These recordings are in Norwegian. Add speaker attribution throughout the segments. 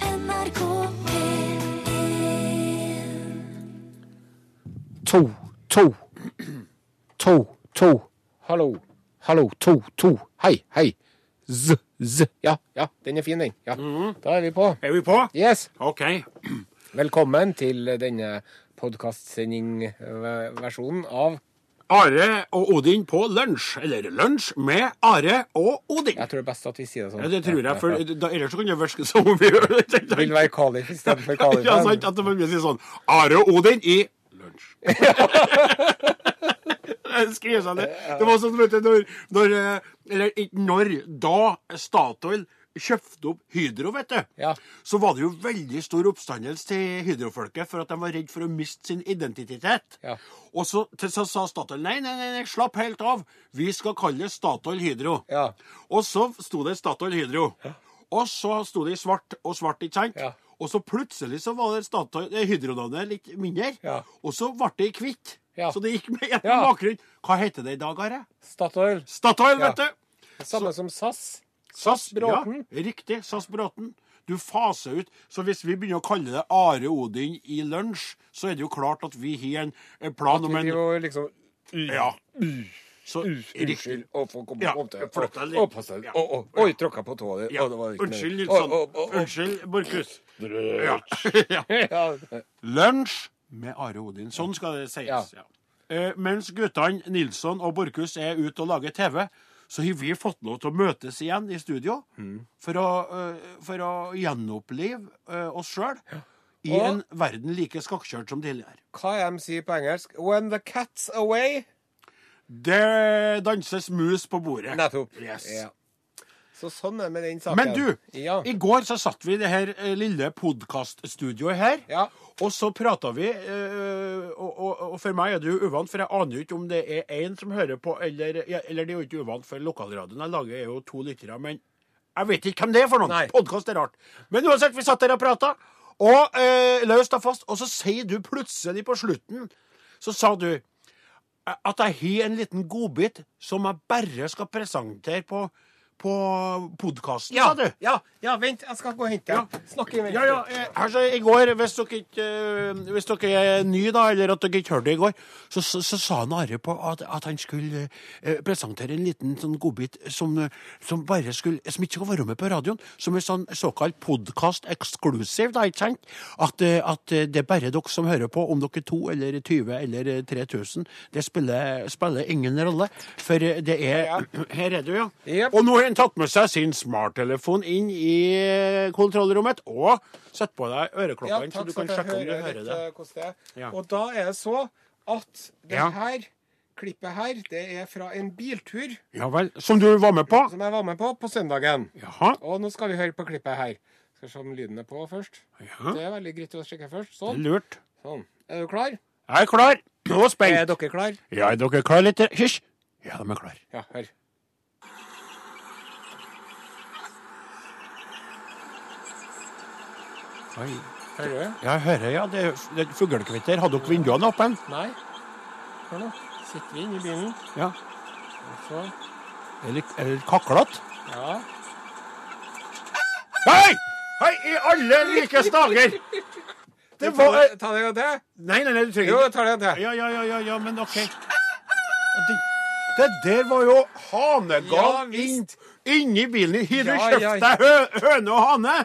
Speaker 1: NRK P1
Speaker 2: to, to, to, to, hallo, hallo, to, to, hei, hei, z, z, ja, ja, den er fin den, ja, da er vi på.
Speaker 3: Er vi på?
Speaker 2: Yes,
Speaker 3: OK.
Speaker 2: velkommen til denne podcastsending-versjonen av,
Speaker 3: Are og Odin på lunsj, eller lunsj med Are og Odin.
Speaker 2: jeg tror det er best at vi sier det sånn.
Speaker 3: Ja, det tror jeg, for da, ellers så kan det virke som om vi gjør det.
Speaker 2: Det vil være kalif i stedet for kalif.
Speaker 3: Ja, sant, at man sier sånn Are og Odin i lunsj. Skriv seg det. Det var sånn, vet du, når, når eh, Eller ikke når, da Statoil kjøpte opp Hydro, vet du,
Speaker 2: Ja.
Speaker 3: så var det jo veldig stor oppstandelse til Hydro-folket for at de var redd for å miste sin identitet.
Speaker 2: Ja.
Speaker 3: Og så, til, så sa Statoil nei, nei, nei, nei, slapp helt av. Vi skal kalle det Statoil Hydro.
Speaker 2: Ja.
Speaker 3: Og så sto det Statoil Hydro. Og så sto det i svart og svart, ikke sant?
Speaker 2: Ja.
Speaker 3: Og så plutselig så var det Statoil, eh, Hydro-navnet litt mindre.
Speaker 2: Ja.
Speaker 3: Og så ble det kvitt.
Speaker 2: Ja.
Speaker 3: Så det gikk med en
Speaker 2: Ja.
Speaker 3: bakgrunn. Hva heter det i dag, Are?
Speaker 2: Statoil,
Speaker 3: Statoil,
Speaker 2: Ja.
Speaker 3: vet du!
Speaker 2: samme som SAS.
Speaker 3: SAS
Speaker 2: Bråten.
Speaker 3: Ja, riktig. SAS Bråten. Du faser ut. Så hvis vi begynner å kalle det Are Odin i lunsj, så er det jo klart at vi har en, en plan om
Speaker 2: Vi
Speaker 3: en
Speaker 2: driver jo liksom,
Speaker 3: Ja. Så riktig.
Speaker 2: unnskyld, å få kom,
Speaker 3: Ja,
Speaker 2: kom til.
Speaker 3: flott, eller?
Speaker 2: Å, pass deg.
Speaker 3: Ja.
Speaker 2: Å, å, oi, tråkka på tåa di.
Speaker 3: Ja.
Speaker 2: Å, det var ikke
Speaker 3: Unnskyld,
Speaker 2: meningen. Å,
Speaker 3: Nilsson.
Speaker 2: å, å, å.
Speaker 3: Unnskyld, Borchhus. Ja. ja.
Speaker 2: Ja.
Speaker 3: Lunsj med Are Odin. Sånn skal det sies.
Speaker 2: Ja.
Speaker 3: Ja. Eh, mens guttene Nilsson og Borchhus er ute og lager TV, så har vi fått lov til å møtes igjen i studio
Speaker 2: Mm.
Speaker 3: for, å, eh, for å gjenopplive eh, oss sjøl i
Speaker 2: Og-
Speaker 3: en verden like skakkjørt som tidligere.
Speaker 2: Hva er det de sier på engelsk? When the cat's away.
Speaker 3: Det danses mus på bordet.
Speaker 2: Nettopp.
Speaker 3: Yes.
Speaker 2: Ja. Så sånn er det med den saken.
Speaker 3: Men du,
Speaker 2: ja.
Speaker 3: i går så satt vi i det her eh, lille podkaststudioet her,
Speaker 2: Ja.
Speaker 3: og så prata vi eh, og, og, og for meg er det jo uvant, for jeg aner jo ikke om det er én som hører på, eller, ja, eller det er jo ikke uvant, for lokalradioen jeg lager, er jo to lyttere. Men jeg vet ikke hvem det er for
Speaker 2: Nei.
Speaker 3: noen. Podkast er rart. Men uansett, vi satt der og prata, og eh, løst og fast, og så sier du plutselig på slutten, så sa du at jeg har en liten godbit som jeg bare skal presentere på, på podkasten,
Speaker 2: Ja,
Speaker 3: sa du.
Speaker 2: ja, ja, vent, jeg skal gå og hente den. Snakk i vent.
Speaker 3: Ja, ja, eh, altså, I går, hvis dere, ikke, eh, hvis dere er ny, da, eller at dere ikke hørte det i går, så, så, så sa han Are på at, at han skulle eh, presentere en liten sånn godbit som, eh, som bare skulle, som ikke skal være med på radioen, som en sånn såkalt podcast exclusive, da, ikke sant? At, eh, at eh, det er bare dere som hører på, om dere er to eller 20 eller eh, 3000, det spiller, spiller ingen rolle, for eh, det er, her er du, ja.
Speaker 2: Jep.
Speaker 3: Og nå har han tatt med seg sin smarttelefon inn i kontrollrommet og satt på deg
Speaker 2: Ja,
Speaker 3: øreklokkene, så
Speaker 2: takk
Speaker 3: du
Speaker 2: for at
Speaker 3: kan
Speaker 2: jeg
Speaker 3: sjekke om du
Speaker 2: hører, litt,
Speaker 3: hører det.
Speaker 2: eh, hvordan det er.
Speaker 3: Ja.
Speaker 2: Og da er det så at det
Speaker 3: Ja.
Speaker 2: her klippet her, det er fra en biltur
Speaker 3: Ja vel. Som du var med på?
Speaker 2: som jeg var med på på søndagen.
Speaker 3: Jaha.
Speaker 2: Og nå skal vi høre på klippet her. Skal se om lyden er på først.
Speaker 3: Ja.
Speaker 2: Det er veldig greit å sjekke først.
Speaker 3: Det er
Speaker 2: Sånn.
Speaker 3: Lurt.
Speaker 2: sånn. Er du klar?
Speaker 3: Jeg er klar. Nå er jeg
Speaker 2: Er
Speaker 3: spent.
Speaker 2: dere klar?
Speaker 3: Ja, er dere klar litt? Hysj. Ja, de er klar.
Speaker 2: Ja, hør.
Speaker 3: Oi.
Speaker 2: Hører du?
Speaker 3: Ja, jeg hører, ja. Det er, det er fuglekvitter. Hadde dere vinduene åpne?
Speaker 2: Nei. Hør nå. Sitter vi inne i bilen,
Speaker 3: Ja.
Speaker 2: og så
Speaker 3: Er det, er det kaklet?
Speaker 2: Ja.
Speaker 3: Hei! Hei, i alle likes dager! Det var
Speaker 2: Ta det en gang til.
Speaker 3: Nei, nei, nei, du trenger
Speaker 2: Jo,
Speaker 3: ikke
Speaker 2: jeg tar det en gang til.
Speaker 3: Ja, ja, ja, ja, ja men OK. Og Det, det der var jo hanegal
Speaker 2: Ja, visst.
Speaker 3: inn- inni bilen din. Har du
Speaker 2: Ja,
Speaker 3: kjøpt
Speaker 2: ja.
Speaker 3: deg hø, høne og hane?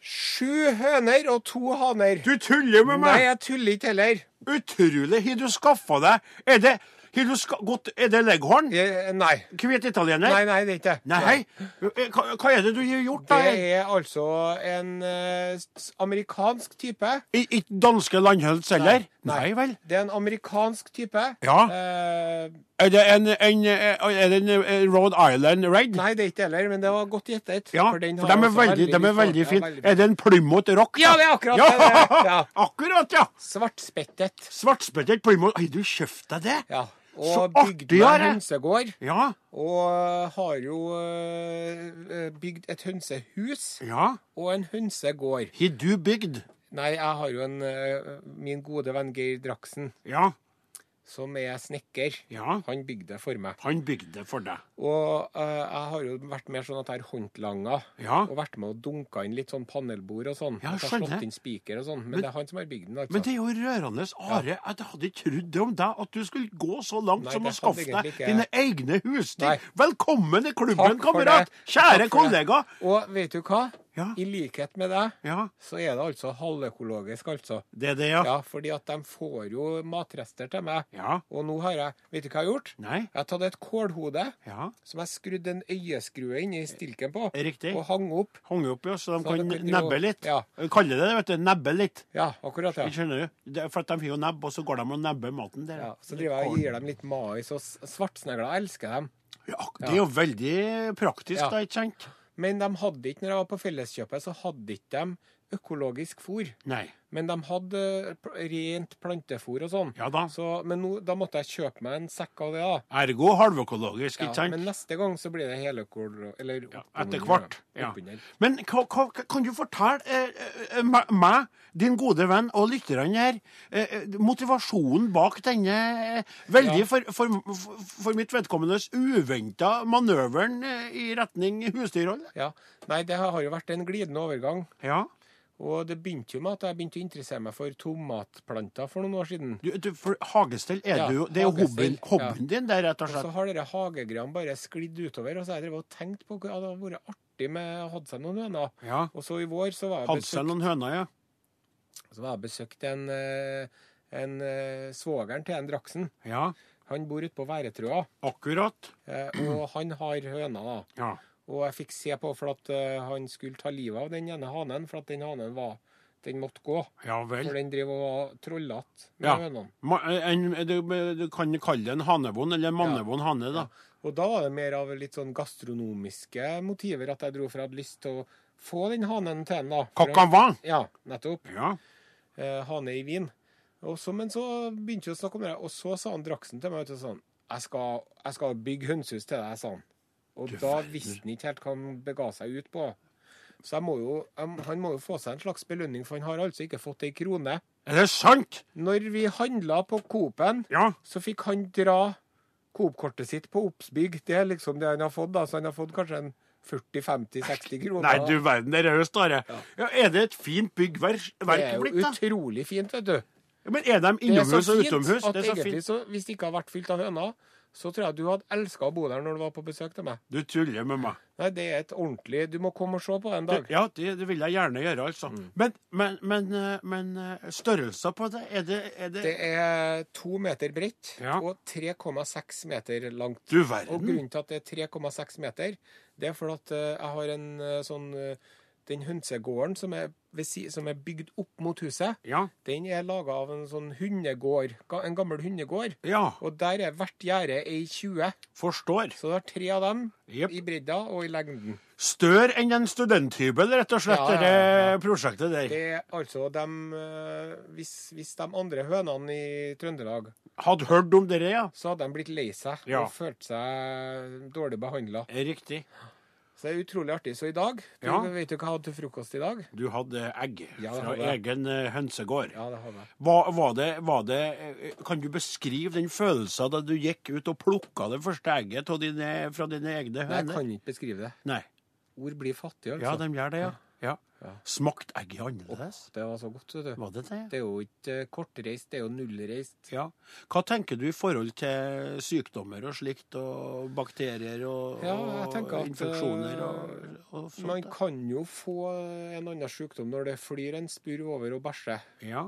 Speaker 2: Sju høner og to haner.
Speaker 3: Du tuller med
Speaker 2: Nei,
Speaker 3: meg!
Speaker 2: jeg tuller ikke heller.
Speaker 3: Utrolig. Har du skaffa deg Er det har du ska, godt, Er det leghorn?
Speaker 2: Eh, Nei.
Speaker 3: Hvit italiener?
Speaker 2: Nei, nei, det er ikke det.
Speaker 3: Nei, hei. Hva, hva er det du har gjort, da?
Speaker 2: Det er altså en eh, s- amerikansk type.
Speaker 3: I- Ikke danske landhøns heller? Nei. vel.
Speaker 2: Det er en amerikansk type.
Speaker 3: Ja.
Speaker 2: Eh,
Speaker 3: Er det en, en, er det en eh, Rhode Island Red?
Speaker 2: nei, det er ikke det heller, men det var godt gjettet.
Speaker 3: Ja, for
Speaker 2: for
Speaker 3: de
Speaker 2: den har
Speaker 3: er
Speaker 2: altså
Speaker 3: veldig, de er
Speaker 2: lyst
Speaker 3: veldig
Speaker 2: hår.
Speaker 3: fine.
Speaker 2: Ja,
Speaker 3: Er det en Plymouth Rock?
Speaker 2: Ja, det er akkurat det det er. Ja.
Speaker 3: Akkurat, ja.
Speaker 2: Svartspettet.
Speaker 3: Svartspettet Plymouth. Har du kjøpt deg det?
Speaker 2: Ja. Og
Speaker 3: Så artig,
Speaker 2: bygde
Speaker 3: Are.
Speaker 2: meg hønsegård.
Speaker 3: Ja.
Speaker 2: Og har jo eh, bygd et hønsehus
Speaker 3: ja.
Speaker 2: og en hønsegård.
Speaker 3: Har du bygd?
Speaker 2: Nei, jeg har jo en eh, Min gode venn Geir Draksen.
Speaker 3: Ja.
Speaker 2: som er snekker,
Speaker 3: Ja.
Speaker 2: han bygde det for meg.
Speaker 3: Han bygde det for deg.
Speaker 2: Og eh, jeg har jo vært mer sånn at jeg har håndlanga
Speaker 3: Ja.
Speaker 2: og vært med og dunka inn litt sånn panelbord og sånn.
Speaker 3: Ja,
Speaker 2: At jeg har
Speaker 3: skjønner.
Speaker 2: slått inn spiker og sånn. Men, det er han som har bygd den, altså.
Speaker 3: Men det er jo rørende, Are, at jeg hadde ikke trodd det om deg, at du skulle gå så langt
Speaker 2: Nei,
Speaker 3: som å
Speaker 2: det hadde
Speaker 3: skaffe
Speaker 2: egentlig
Speaker 3: deg
Speaker 2: ikke
Speaker 3: dine
Speaker 2: jeg.
Speaker 3: egne husdyr.
Speaker 2: Nei.
Speaker 3: Velkommen i klubben,
Speaker 2: Takk for
Speaker 3: kamerat!
Speaker 2: det. Takk
Speaker 3: Kjære
Speaker 2: for
Speaker 3: kollega!
Speaker 2: det. Og vet du hva?
Speaker 3: Ja.
Speaker 2: I likhet med deg,
Speaker 3: Ja.
Speaker 2: så er det altså halvøkologisk, altså.
Speaker 3: Det er det, ja.
Speaker 2: Ja, fordi at de får jo matrester til meg.
Speaker 3: Ja.
Speaker 2: Og nå har jeg Vet du hva jeg har gjort?
Speaker 3: Nei.
Speaker 2: Jeg har tatt et kålhode
Speaker 3: Ja.
Speaker 2: som jeg skrudde en øyeskrue inn i stilken på,
Speaker 3: Riktig.
Speaker 2: og hang opp.
Speaker 3: Hang opp, ja, så de
Speaker 2: Så
Speaker 3: kan
Speaker 2: dere kan jo-
Speaker 3: nebbe litt.
Speaker 2: Ja.
Speaker 3: Kaller det det, vet du. Nebbe litt.
Speaker 2: Ja, akkurat, ja.
Speaker 3: Skjønner du? Det er for at de får jo nebb, og så går de og nebber maten der.
Speaker 2: ja så driver jeg og gir dem litt mais, og s- svartsnegler jeg elsker dem.
Speaker 3: Ja, det er jo veldig praktisk,
Speaker 2: Ja.
Speaker 3: da, ikke sant?
Speaker 2: Men de hadde ikke, når jeg var på Felleskjøpet, så hadde ikke de økologisk fôr.
Speaker 3: Nei.
Speaker 2: Men de hadde eh, pl- rent plantefôr og sånn.
Speaker 3: Ja da.
Speaker 2: Så, men nå, da måtte jeg kjøpe meg en sekk av det, da.
Speaker 3: Ergo halvøkologisk,
Speaker 2: Ja,
Speaker 3: ikke sant?
Speaker 2: men neste gang så blir det heløkol... Eller
Speaker 3: Ja,
Speaker 2: oppunder,
Speaker 3: etter hvert.
Speaker 2: Ja.
Speaker 3: Ja.
Speaker 2: Oppunder.
Speaker 3: Men hva, hva, hva- kan du fortelle eh, eh, meg- meg, din gode venn og lytterne her, eh, eh, motivasjonen bak denne eh, veldig
Speaker 2: Ja.
Speaker 3: for, for, for, for mitt vedkommendes uventa manøveren eh, i retning husdyrhold?
Speaker 2: Ja. Nei, det har jo vært en glidende overgang.
Speaker 3: Ja.
Speaker 2: Og det begynte jo med at jeg begynte å interessere meg for tomatplanter for noen år siden.
Speaker 3: Du, du, for hagestell er
Speaker 2: Ja,
Speaker 3: du jo Det er jo hobbyen,
Speaker 2: hagestell,
Speaker 3: hobbyen din, det, rett og
Speaker 2: Og så
Speaker 3: slett.
Speaker 2: har dere hagegreiene bare sklidd utover, og så har jeg drevet og tenkt på hva det hadde vært artig med å ha seg noen høner.
Speaker 3: Ja.
Speaker 2: Og så i vår så var jeg
Speaker 3: Hadde seg
Speaker 2: besøkt,
Speaker 3: noen høner, ja.
Speaker 2: så var jeg besøkt en, eh, en eh, svogeren til en Draksen.
Speaker 3: Ja,
Speaker 2: Han bor ute på Væretrøa,
Speaker 3: akkurat.
Speaker 2: eh, og han har høner, da.
Speaker 3: Ja.
Speaker 2: Og jeg fikk se på for at eh, han skulle ta livet av den ene hanen, for at den hanen var Den måtte gå.
Speaker 3: Ja vel.
Speaker 2: For den driver og var trollete med
Speaker 3: Ja.
Speaker 2: hønene.
Speaker 3: Ma, en, du, du kan kalle det en hanevond eller en mannevond hane, da.
Speaker 2: Og da var det mer av litt sånn gastronomiske motiver at jeg dro for jeg hadde lyst til å få den hanen til en, da. For han-
Speaker 3: Kakavan.
Speaker 2: Ja, nettopp.
Speaker 3: Ja.
Speaker 2: Eh, hane i vin. Og så, men så begynte vi å snakke om det, og så sa han Draksen til meg vet du, sånn jeg skal, jeg skal bygge hønsehus til deg, sa han. Og
Speaker 3: Du
Speaker 2: da
Speaker 3: verden.
Speaker 2: visste han ikke helt hva han bega seg ut på. Så jeg må jo, jeg, han må jo få seg en slags belønning, for han har altså ikke fått ei krone.
Speaker 3: Er det sant?
Speaker 2: Når vi handla på Coop-en,
Speaker 3: Ja.
Speaker 2: så fikk han dra Coop-kortet sitt på Obsbygg. Det er liksom det han har fått, da. Så han har fått kanskje en 40-50-60 kroner.
Speaker 3: Nei, du verden, det er høst, Are. Ja, er det et fint byggverk
Speaker 2: det
Speaker 3: verk
Speaker 2: er jo
Speaker 3: blitt, da?
Speaker 2: utrolig fint, vet du.
Speaker 3: Ja, Men er de
Speaker 2: Det er så
Speaker 3: innomhus og
Speaker 2: fint
Speaker 3: utomhus?
Speaker 2: at
Speaker 3: Det er så
Speaker 2: egentlig
Speaker 3: fint.
Speaker 2: så, hvis det ikke hadde vært fylt av høner, så tror jeg du hadde elska å bo der når du var på besøk til meg.
Speaker 3: Du tuller med meg.
Speaker 2: Nei, det er et ordentlig Du må komme og se på det en dag.
Speaker 3: Ja, det, det vil jeg gjerne gjøre, altså. Men, men, men, eh, men eh, størrelser på det? Er det, er det...
Speaker 2: Det er to meter bredt
Speaker 3: Ja.
Speaker 2: og 3,6 meter langt.
Speaker 3: Du
Speaker 2: Og
Speaker 3: verden.
Speaker 2: grunnen til at det er 3,6 meter, det er fordi at eh, jeg har en eh, sånn eh, Den hønsegården som er, ved si, som er bygd opp mot huset,
Speaker 3: Ja.
Speaker 2: den er laga av en sånn hundegård. ga- En gammel hundegård.
Speaker 3: Ja,
Speaker 2: Og der er hvert gjerde ei 20.
Speaker 3: forstår.
Speaker 2: Så du har tre av dem
Speaker 3: Jep.
Speaker 2: i bredda og i lengden.
Speaker 3: Større enn en studenthybel, rett og slett,
Speaker 2: Ja, ja, ja, ja.
Speaker 3: det prosjektet der.
Speaker 2: Det er altså dem eh, hvis, hvis de andre hønene i Trøndelag
Speaker 3: Hadde hørt om dere, ja.
Speaker 2: så hadde de blitt lei seg
Speaker 3: Ja.
Speaker 2: og følt seg dårlig behandla.
Speaker 3: Eh, Riktig.
Speaker 2: Så det er utrolig artig. Så i dag du,
Speaker 3: Ja.
Speaker 2: Vet du hva jeg hadde til frokost i dag?
Speaker 3: Du hadde egg
Speaker 2: Ja, det
Speaker 3: fra
Speaker 2: hadde jeg.
Speaker 3: egen eh, hønsegård.
Speaker 2: Ja, det hadde jeg.
Speaker 3: Hva, var det, var det, eh, kan du beskrive den følelsen da du gikk ut og plukka det første egget av dine, fra dine egne
Speaker 2: Nei, jeg
Speaker 3: høner?
Speaker 2: kan ikke beskrive det.
Speaker 3: Nei.
Speaker 2: Ord blir fattige,
Speaker 3: Ja,
Speaker 2: altså.
Speaker 3: de gjør det, ja. ja. Smakte egget annerledes?
Speaker 2: det var så godt, vet du.
Speaker 3: Var det det?
Speaker 2: Det er jo ikke eh, kortreist, det er jo nullreist.
Speaker 3: Ja. Hva tenker du i forhold til sykdommer og slikt, og bakterier og,
Speaker 2: Ja, jeg tenker at, eh,
Speaker 3: og infeksjoner og, og
Speaker 2: Man
Speaker 3: sånt? da?
Speaker 2: kan jo få eh, en annen sykdom når det flyr en spurv over og bæsjer.
Speaker 3: Ja.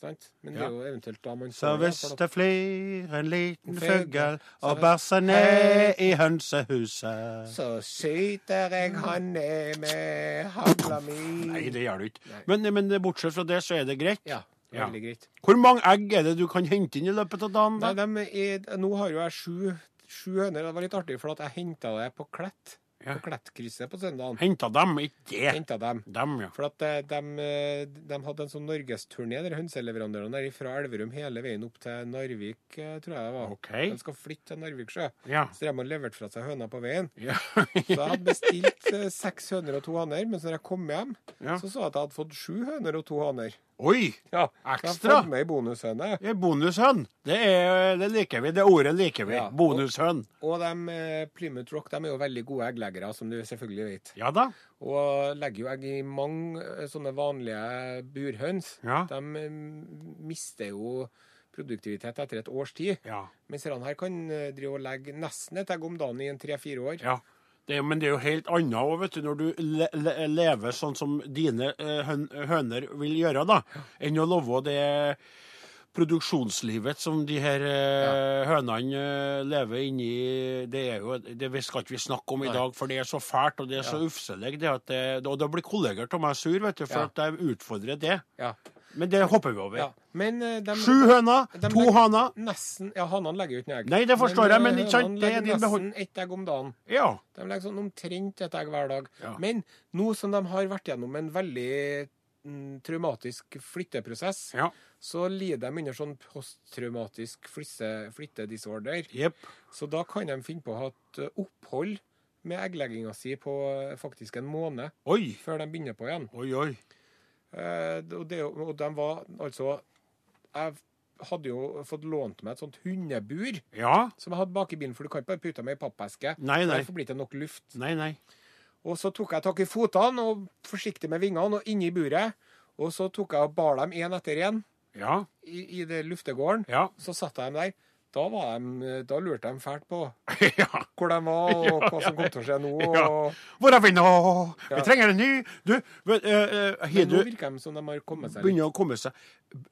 Speaker 2: Sant? Men det
Speaker 3: Ja.
Speaker 2: er jo eventuelt da man
Speaker 3: Så
Speaker 2: får det,
Speaker 3: hvis
Speaker 2: for da-
Speaker 3: det flyr en liten
Speaker 2: Fugl.
Speaker 3: fugl og bæsjer ned i hønsehuset
Speaker 2: Så skyter jeg han ned med hagla mi.
Speaker 3: Nei, det gjør du ikke. Men, men bortsett fra det, så er det greit.
Speaker 2: Ja, det
Speaker 3: Ja.
Speaker 2: er veldig greit.
Speaker 3: Hvor mange egg er det du kan hente inn i løpet av dagen?
Speaker 2: Nei,
Speaker 3: da?
Speaker 2: dem er, nå har jo jeg sju, sju høner. Det var litt artig, for at jeg henta det på Klett.
Speaker 3: Ja.
Speaker 2: På Klettkrysset på søndagen.
Speaker 3: Henta dem, ikke det.
Speaker 2: Henta dem.
Speaker 3: Dem, ja.
Speaker 2: For at eh, de, hadde en sånn norgesturné, de hønseleverandørene der, fra Elverum hele veien opp til Narvik, eh, tror jeg det var.
Speaker 3: OK.
Speaker 2: De skal flytte til Narviksjø.
Speaker 3: Ja.
Speaker 2: Så de har levert fra seg høner på veien.
Speaker 3: ja.
Speaker 2: Så jeg hadde bestilt eh, seks høner og to haner, men så når jeg kom hjem,
Speaker 3: Ja.
Speaker 2: så så jeg at jeg hadde fått sju høner og to haner.
Speaker 3: Å Oi!
Speaker 2: Ja, Jeg
Speaker 3: Ekstra?
Speaker 2: har fått med bonushøne.
Speaker 3: Det er Bonushønn. Det, er, det liker vi. Det ordet liker vi.
Speaker 2: Ja.
Speaker 3: Bonushønn.
Speaker 2: Og de, eh, Plymouth Rock de er jo veldig gode eggleggere, som du selvfølgelig vet.
Speaker 3: Ja da.
Speaker 2: Og legger jo egg i mange eh, sånne vanlige burhøns.
Speaker 3: Ja.
Speaker 2: De eh, mister jo produktivitet etter et års tid.
Speaker 3: Ja.
Speaker 2: Mens denne her kan eh, drive og legge nesten et egg om dagen i en tre-fire år.
Speaker 3: Ja. Det, er- men det er jo helt annet òg, vet du, når du le, le, lever sånn som dine eh, høn, høner vil gjøre, da, enn å leve det produksjonslivet som de her eh, hønene eh, lever inni. Det er jo, det vi skal ikke vi snakke om i
Speaker 2: Nei.
Speaker 3: dag, for det er så fælt, og det er så ufselig. Det at det, og da blir kolleger av meg sur, vet du, for
Speaker 2: Ja.
Speaker 3: at jeg utfordrer det.
Speaker 2: Ja.
Speaker 3: Men det hopper vi over.
Speaker 2: ja. Men eh, de
Speaker 3: Sju høner,
Speaker 2: de
Speaker 3: to
Speaker 2: legger-
Speaker 3: haner.
Speaker 2: Nesten Ja, hanene legger jo ikke noe egg.
Speaker 3: Nei, det forstår jeg, men
Speaker 2: eh,
Speaker 3: ikke sant,
Speaker 2: hønene
Speaker 3: det er
Speaker 2: legger
Speaker 3: din behold-
Speaker 2: Nesten ett egg om dagen.
Speaker 3: Ja.
Speaker 2: De legger sånn omtrent et egg hver dag.
Speaker 3: Ja.
Speaker 2: Men nå som de har vært gjennom en veldig mm, traumatisk flytteprosess,
Speaker 3: Ja.
Speaker 2: så lider de under sånn posttraumatisk flysse- flyttedisorder.
Speaker 3: Jepp.
Speaker 2: Så da kan de finne på å ha et ø, opphold med egglegginga si på ø, faktisk en måned
Speaker 3: Oi.
Speaker 2: før de begynner på igjen.
Speaker 3: Oi, oi.
Speaker 2: Eh, d- og, det, er jo- og de var altså Jeg hadde jo fått lånt meg et sånt hundebur
Speaker 3: Ja.
Speaker 2: som jeg hadde bak i bilen, for du kan ikke bare putte dem i ei pappeske.
Speaker 3: Nei,
Speaker 2: for
Speaker 3: nei.
Speaker 2: derfor blir det ikke nok luft.
Speaker 3: Nei, nei.
Speaker 2: Og så tok jeg tak i fotene og forsiktig med vingene og inni buret. Og så tok jeg og bar dem én etter én
Speaker 3: Ja.
Speaker 2: i, i det luftegården.
Speaker 3: Ja.
Speaker 2: Så satte jeg dem der. Da, var de, da lurte de fælt på
Speaker 3: ja.
Speaker 2: hvor de var, og hva som kom til å skje nå. Og,
Speaker 3: Ja. Hvor er vi nå? Vi
Speaker 2: Ja.
Speaker 3: trenger en ny Du, men, eh, eh, har
Speaker 2: Men
Speaker 3: du
Speaker 2: nå virker de som de har kommet seg litt.
Speaker 3: begynner å komme seg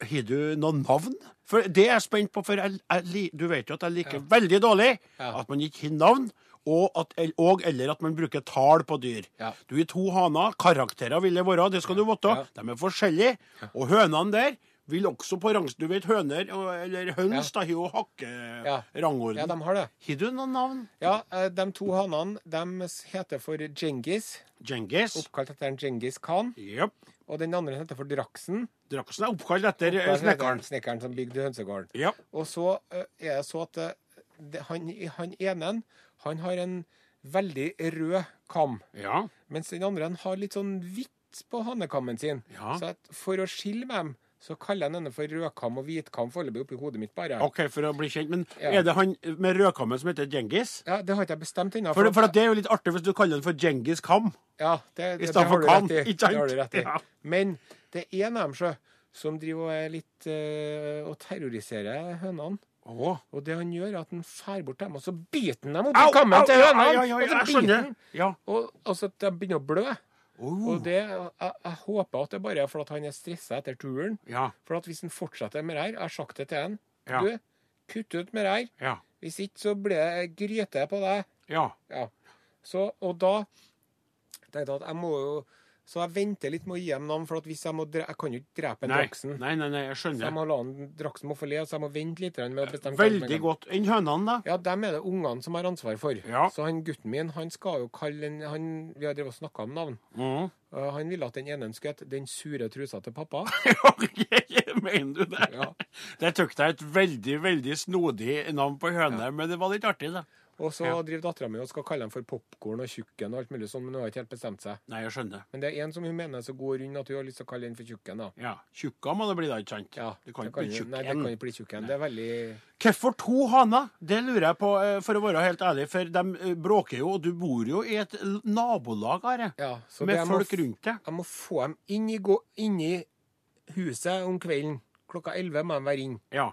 Speaker 3: Har du noen navn? For det er jeg spent på, for jeg, jeg, li- du vet jo at jeg liker veldig dårlig
Speaker 2: Ja.
Speaker 3: at man ikke har navn. Og, at, el- og eller at man bruker tall på dyr.
Speaker 2: Ja.
Speaker 3: Du har to haner. Karakterer vil det være, det skal du vite.
Speaker 2: Ja.
Speaker 3: De er forskjellige. Og hønene der vil også på rangs... Du vet høner, og- eller høns, da har jo
Speaker 2: Ja.
Speaker 3: hakkerangorden.
Speaker 2: Ja, de har det.
Speaker 3: Har du noen navn?
Speaker 2: Ja, eh, De to hanene de heter for Djengis,
Speaker 3: Djengis?
Speaker 2: oppkalt etter en Djengis Khan.
Speaker 3: Jepp.
Speaker 2: Og den andre heter for Draksen.
Speaker 3: Draksen er oppkalt etter eh,
Speaker 2: Der heter
Speaker 3: snekkeren.
Speaker 2: den Snekkeren som bygde hønsegården.
Speaker 3: Ja.
Speaker 2: Og så eh, er det så at eh, det, han, han ene han har en veldig rød kam,
Speaker 3: Ja.
Speaker 2: mens den andre han har litt sånn hvitt på hannekammen sin.
Speaker 3: Ja.
Speaker 2: Så at for å skille med dem, så kaller jeg denne for rødkam og hvitkam foreløpig oppi hodet mitt bare.
Speaker 3: OK, for å bli kjent. Men
Speaker 2: Ja.
Speaker 3: er det han med rødkammen som heter Djengis?
Speaker 2: Ja, Det har ikke jeg bestemt ennå.
Speaker 3: For, for at det er jo litt artig hvis du kaller den for Djengis Kam.
Speaker 2: ja, det, det, det
Speaker 3: stedet
Speaker 2: har
Speaker 3: for
Speaker 2: du
Speaker 3: kam,
Speaker 2: rett i.
Speaker 3: ikke sant?
Speaker 2: Det har du rett i.
Speaker 3: Ja.
Speaker 2: Men det er en av dem sjø, som driver og er litt eh, og terroriserer hønene.
Speaker 3: Å.
Speaker 2: Og det han gjør, er at han fær bort dem, og så biter han dem opp
Speaker 3: Au,
Speaker 2: i kammen
Speaker 3: au,
Speaker 2: til
Speaker 3: ja,
Speaker 2: hønene!
Speaker 3: ja, ja, ja,
Speaker 2: og så
Speaker 3: jeg
Speaker 2: biter
Speaker 3: skjønner.
Speaker 2: han.
Speaker 3: Ja.
Speaker 2: Og altså, at de begynner å blø.
Speaker 3: Oh.
Speaker 2: Og det, jeg, jeg håper at det bare er for at han er stressa etter turen.
Speaker 3: Ja.
Speaker 2: For at hvis han fortsetter med det her Jeg har sagt det til han.
Speaker 3: Ja.
Speaker 2: Du, kutt ut med det her.
Speaker 3: Ja.
Speaker 2: Hvis ikke, så blir det gryte på deg.
Speaker 3: Ja.
Speaker 2: Ja. Så, og da tenkte jeg at jeg må jo Så jeg venter litt med å gi dem navn, for at hvis jeg må dre Jeg kan jo ikke drepe en
Speaker 3: Nei.
Speaker 2: draksen.
Speaker 3: nei, nei, nei, jeg
Speaker 2: Så jeg
Speaker 3: skjønner.
Speaker 2: må la en draksen må få le, så jeg må vente litt med å bestemme hva som er
Speaker 3: Veldig godt. Enn hønene, da?
Speaker 2: ja, dem er det ungene som har ansvar for.
Speaker 3: Ja.
Speaker 2: Så han gutten min, han skal jo kalle den han, Vi har drevet og snakka om navn.
Speaker 3: Mhm.
Speaker 2: Uh, han ville at den ene skulle hete 'Den sure trusa til pappa'.
Speaker 3: OK, mener du det?
Speaker 2: Ja.
Speaker 3: Det tok deg et veldig, veldig snodig navn på høne, men det var litt artig, da.
Speaker 2: Og så
Speaker 3: Ja.
Speaker 2: driver dattera mi og skal kalle dem for popkorn og tjukken og alt mulig sånn, men hun har ikke helt bestemt seg.
Speaker 3: Nei, jeg skjønner.
Speaker 2: Men det er en som hun mener er så god og rund at hun har lyst til å kalle den for tjukken, da.
Speaker 3: Ja. Tjukka må det bli, da, ikke sant?
Speaker 2: Ja,
Speaker 3: Du kan
Speaker 2: det
Speaker 3: ikke bli
Speaker 2: jo-
Speaker 3: tjukk
Speaker 2: Nei, det
Speaker 3: igjen.
Speaker 2: kan ikke bli tjukken. Det er veldig
Speaker 3: Hvorfor to haner? Det lurer jeg på, eh, for å være helt ærlig. For de eh, bråker jo, og du bor jo i et l- nabolag, Are.
Speaker 2: Ja. Så
Speaker 3: med
Speaker 2: det jeg må
Speaker 3: folk
Speaker 2: f-
Speaker 3: rundt deg.
Speaker 2: Jeg må få dem inn i, gå, inn i huset om kvelden. Klokka elleve må de være inn.
Speaker 3: Ja.